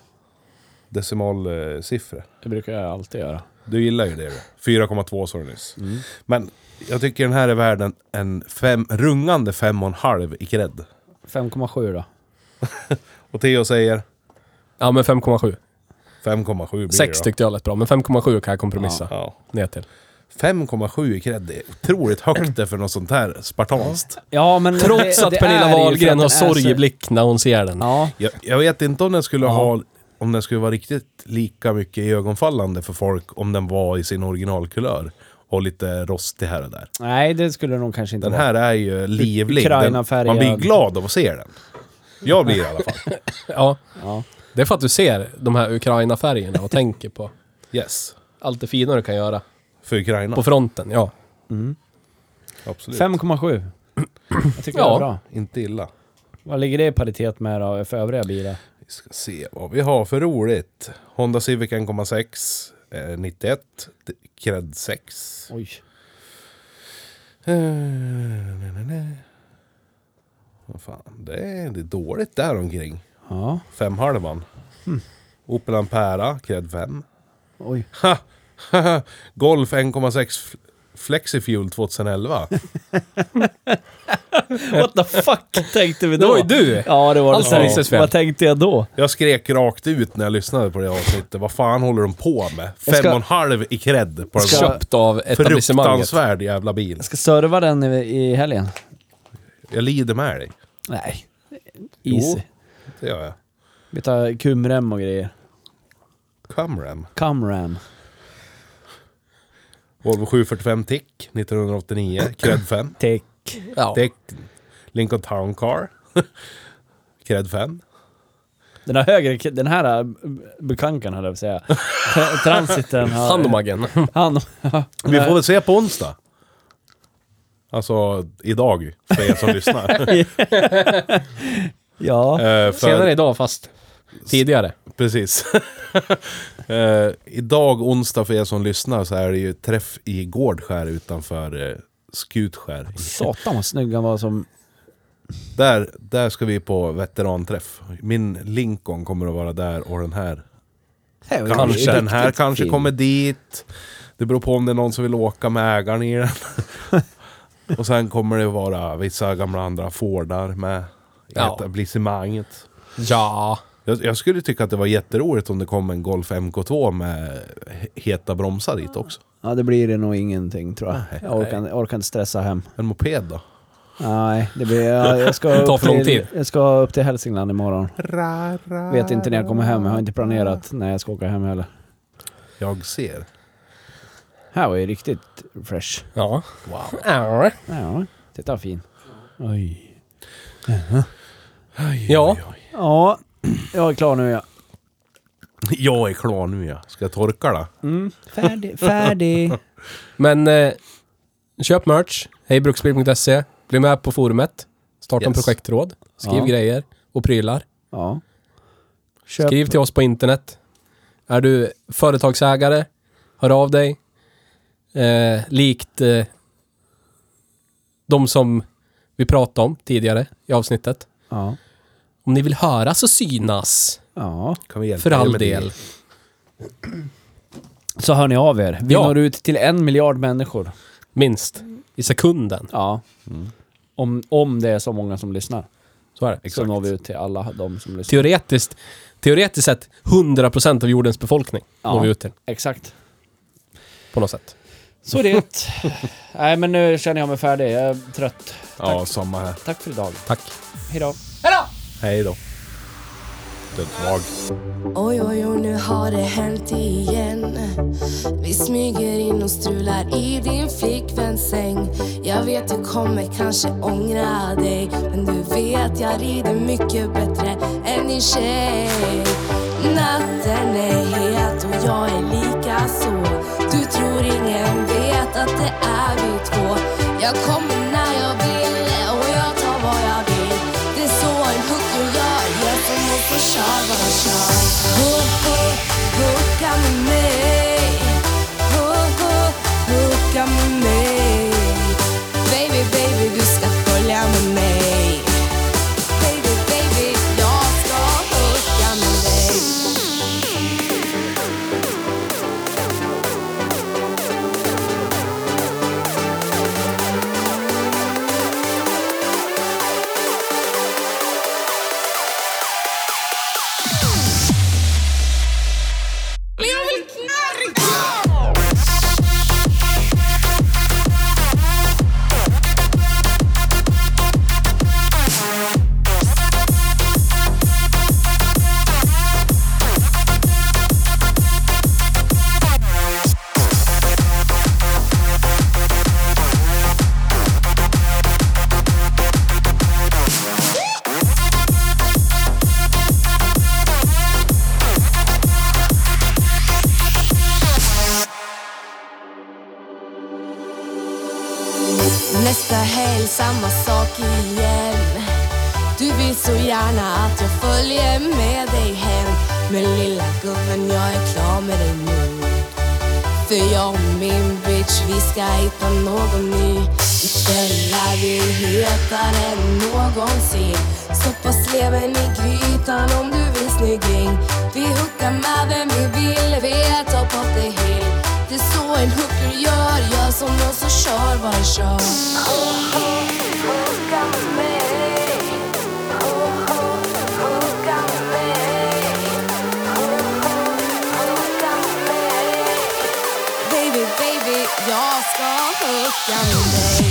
S1: Decimalsiffror.
S3: Det brukar jag alltid göra.
S1: Du gillar ju det. du. 4,2 sa du nyss.
S2: Mm.
S1: Men jag tycker den här är värd en, en fem, rungande 5,5 i cred.
S3: 5,7 då.
S1: Och Theo säger
S2: ja, men 5,7.
S1: 5,7 blir det
S2: 6
S1: då.
S2: tyckte jag lät bra, men 5,7 kan jag kompromissa
S1: Ja.
S2: ner till.
S1: 5,7 i cred, det är otroligt högt det för något sånt här spartanskt.
S3: Ja, men
S2: Trots
S3: det-
S2: att
S3: det är
S2: Pernilla
S3: ju för att
S2: Wahlgren
S3: den
S2: har
S3: är
S2: sorg i
S3: så-
S2: blick när hon ser den.
S3: Ja.
S1: Jag, jag vet inte om den skulle
S3: Ja.
S1: ha om den skulle vara riktigt lika mycket ögonfallande för folk om den var i sin originalkulör och lite rostig här och där.
S3: Nej, det skulle det nog kanske inte
S1: Den
S3: vara.
S1: här är ju livlig. Den,
S3: Ukraina-färgad.
S1: man blir glad av att se den. Jag blir i alla fall.
S2: Ja.
S3: Ja.
S2: Det är för att du ser de här Ukraina-färgerna och tänker på
S1: Yes.
S2: allt det fina du kan göra.
S1: För Ukraina.
S2: På fronten, ja.
S1: Absolut.
S3: 5,7. Jag tycker
S2: Ja.
S3: det är bra.
S1: Inte illa.
S3: Vad ligger det i paritet med då för övriga bilar?
S1: Vi ska se vad vi har för roligt. Honda Civic 1,6. Eh, 91. D- Cred 6.
S3: Oj.
S1: Eh, nej, nej, nej. Vad fan, det är, det är dåligt där omkring.
S3: Ja.
S1: Femhalvan.
S3: Hmm.
S1: Opel Ampera, cred 5.
S3: Oj.
S1: Golf 1,6 fl- Flexifuel 2011.
S3: What the fuck tänkte vi då?
S2: Det var ju du!
S3: Ja, det var
S2: Allt
S3: det.
S2: är
S3: Ja.
S2: Risses fel.
S3: Vad tänkte jag då?
S1: Jag skrek rakt ut när jag lyssnade på det avsnittet. Vad fan håller de på med?
S3: Jag ska-
S1: 5,5 i cred på den
S3: Ska-
S1: här
S2: Köpt av etablissemanget.
S1: fruktansvärd jävla bil.
S3: Jag ska serva den i, i helgen.
S1: Jag lider med dig.
S3: Nej.
S1: Jo.
S3: Easy.
S1: Det gör jag.
S3: Vi tar kumrem och grejer.
S1: Camram.
S3: Kamram.
S1: Volvo 745 Tick 1989. Cred 5.
S3: Tech.
S2: Ja.
S1: Tick. Lincoln Town Car. Cred 5.
S3: Den här högre, den här äh, bukankan höll jag på att säga. Tra- Transiten har...
S2: Handomagen.
S3: Han,
S1: Vi får väl se på onsdag. Alltså idag, för er som lyssnar.
S3: ja.
S1: Eh, för-
S2: Senare idag fast tidigare.
S1: Precis. Eh, idag onsdag för er som lyssnar så är det ju träff i Gårdskär utanför eh, Skutskär.
S3: Satan vad snygg han var som...
S1: Där, där ska vi på veteranträff. Min Lincoln kommer att vara där och den här kanske. Den här kanske kommer dit. Det beror på om det är någon som vill åka med ägaren i den. och sen kommer det vara vissa gamla andra Fordar med i
S2: Ja.
S1: etablissemanget.
S2: Ja.
S1: Jag, jag skulle tycka att det var jätteroligt om det kom en Golf MK2 med he- heta bromsar dit också.
S3: Ja, det blir det nog ingenting tror jag. Jag orkar, jag orkar inte stressa hem.
S1: En moped då?
S3: Nej, det blir... Jag, jag ska
S2: Det tar
S3: upp
S2: för lång
S3: till-
S2: tid.
S3: Jag ska upp till Hälsingland imorgon. Vet inte när jag kommer hem. Jag har inte planerat när jag ska åka hem heller.
S1: Jag ser.
S3: Här var ju riktigt fresh.
S2: Ja. Wow. Ja.
S3: Ja, titta vad fin. Oj.
S2: ja.
S3: Ja, jag är klar nu ja.
S1: Jag är klar nu ja. Ska jag torka då?
S3: Mm. Färdig, färdig.
S2: Men eh, köp merch. Hejbruksbil.se. Bli med på forumet. Starta en
S1: Yes.
S2: projektråd. Skriv
S3: Ja.
S2: grejer och prylar.
S3: Ja. Köp.
S2: Skriv till oss på internet. Är du företagsägare, hör av dig. Eh, likt eh, de som vi pratade om tidigare i avsnittet.
S3: Ja.
S2: Om ni vill höras och synas,
S3: Ja.
S1: Kan vi hjälpa
S2: för
S1: er
S2: all
S1: med det?
S2: del.
S3: Så hör ni av er. Vi
S2: Ja.
S3: når ut till en miljard människor.
S2: Minst. I sekunden.
S3: Ja. Om, om det är så många som lyssnar.
S2: Så är det.
S3: Så når vi ut till alla de som lyssnar.
S2: Teoretiskt, teoretiskt sett 100% av jordens befolkning
S3: Ja.
S2: når vi ut till
S3: Exakt.
S2: på något sätt.
S3: Så är det. Nej men nu känner jag mig färdig. Jag är trött.
S1: Ja, samma här.
S3: Tack för idag.
S2: Tack.
S3: Hejdå.
S1: Hej då. Dödsvag.
S4: Oj, oj, oj, nu har det hänt igen Vi smyger in och strular i din flickväns säng Jag vet du kommer kanske ångra dig Men du vet jag rider mycket bättre än din tjej Natten är het och jag är lika så Du tror ingen vet att det är vi två Jag kommer när jag vill och jag tar vad jag vill Det är så en hooker gör, jag som hon får köra vad hon kör Hook, hook, hooka med mig Hook, hook, hooka med mig Baby, baby, du ska följa med mig Baby, baby, jag ska hooka med dig Nästa helg samma sak igen Du vill så gärna att jag följer med dig hem Men lilla gubben jag är klar med dig nu För jag och min bitch vi ska hitta någon ny Ikväll är vi hetare än någonsin Så pass lever i grytan om du vill snygging Vi hookar med vem vi vill, vi är top of the hill Det är så en hooker gör, gör som någon så kör, bara kör Hooka med mig Hooka med mig Hooka med mig Baby, baby, jag ska hooka med dig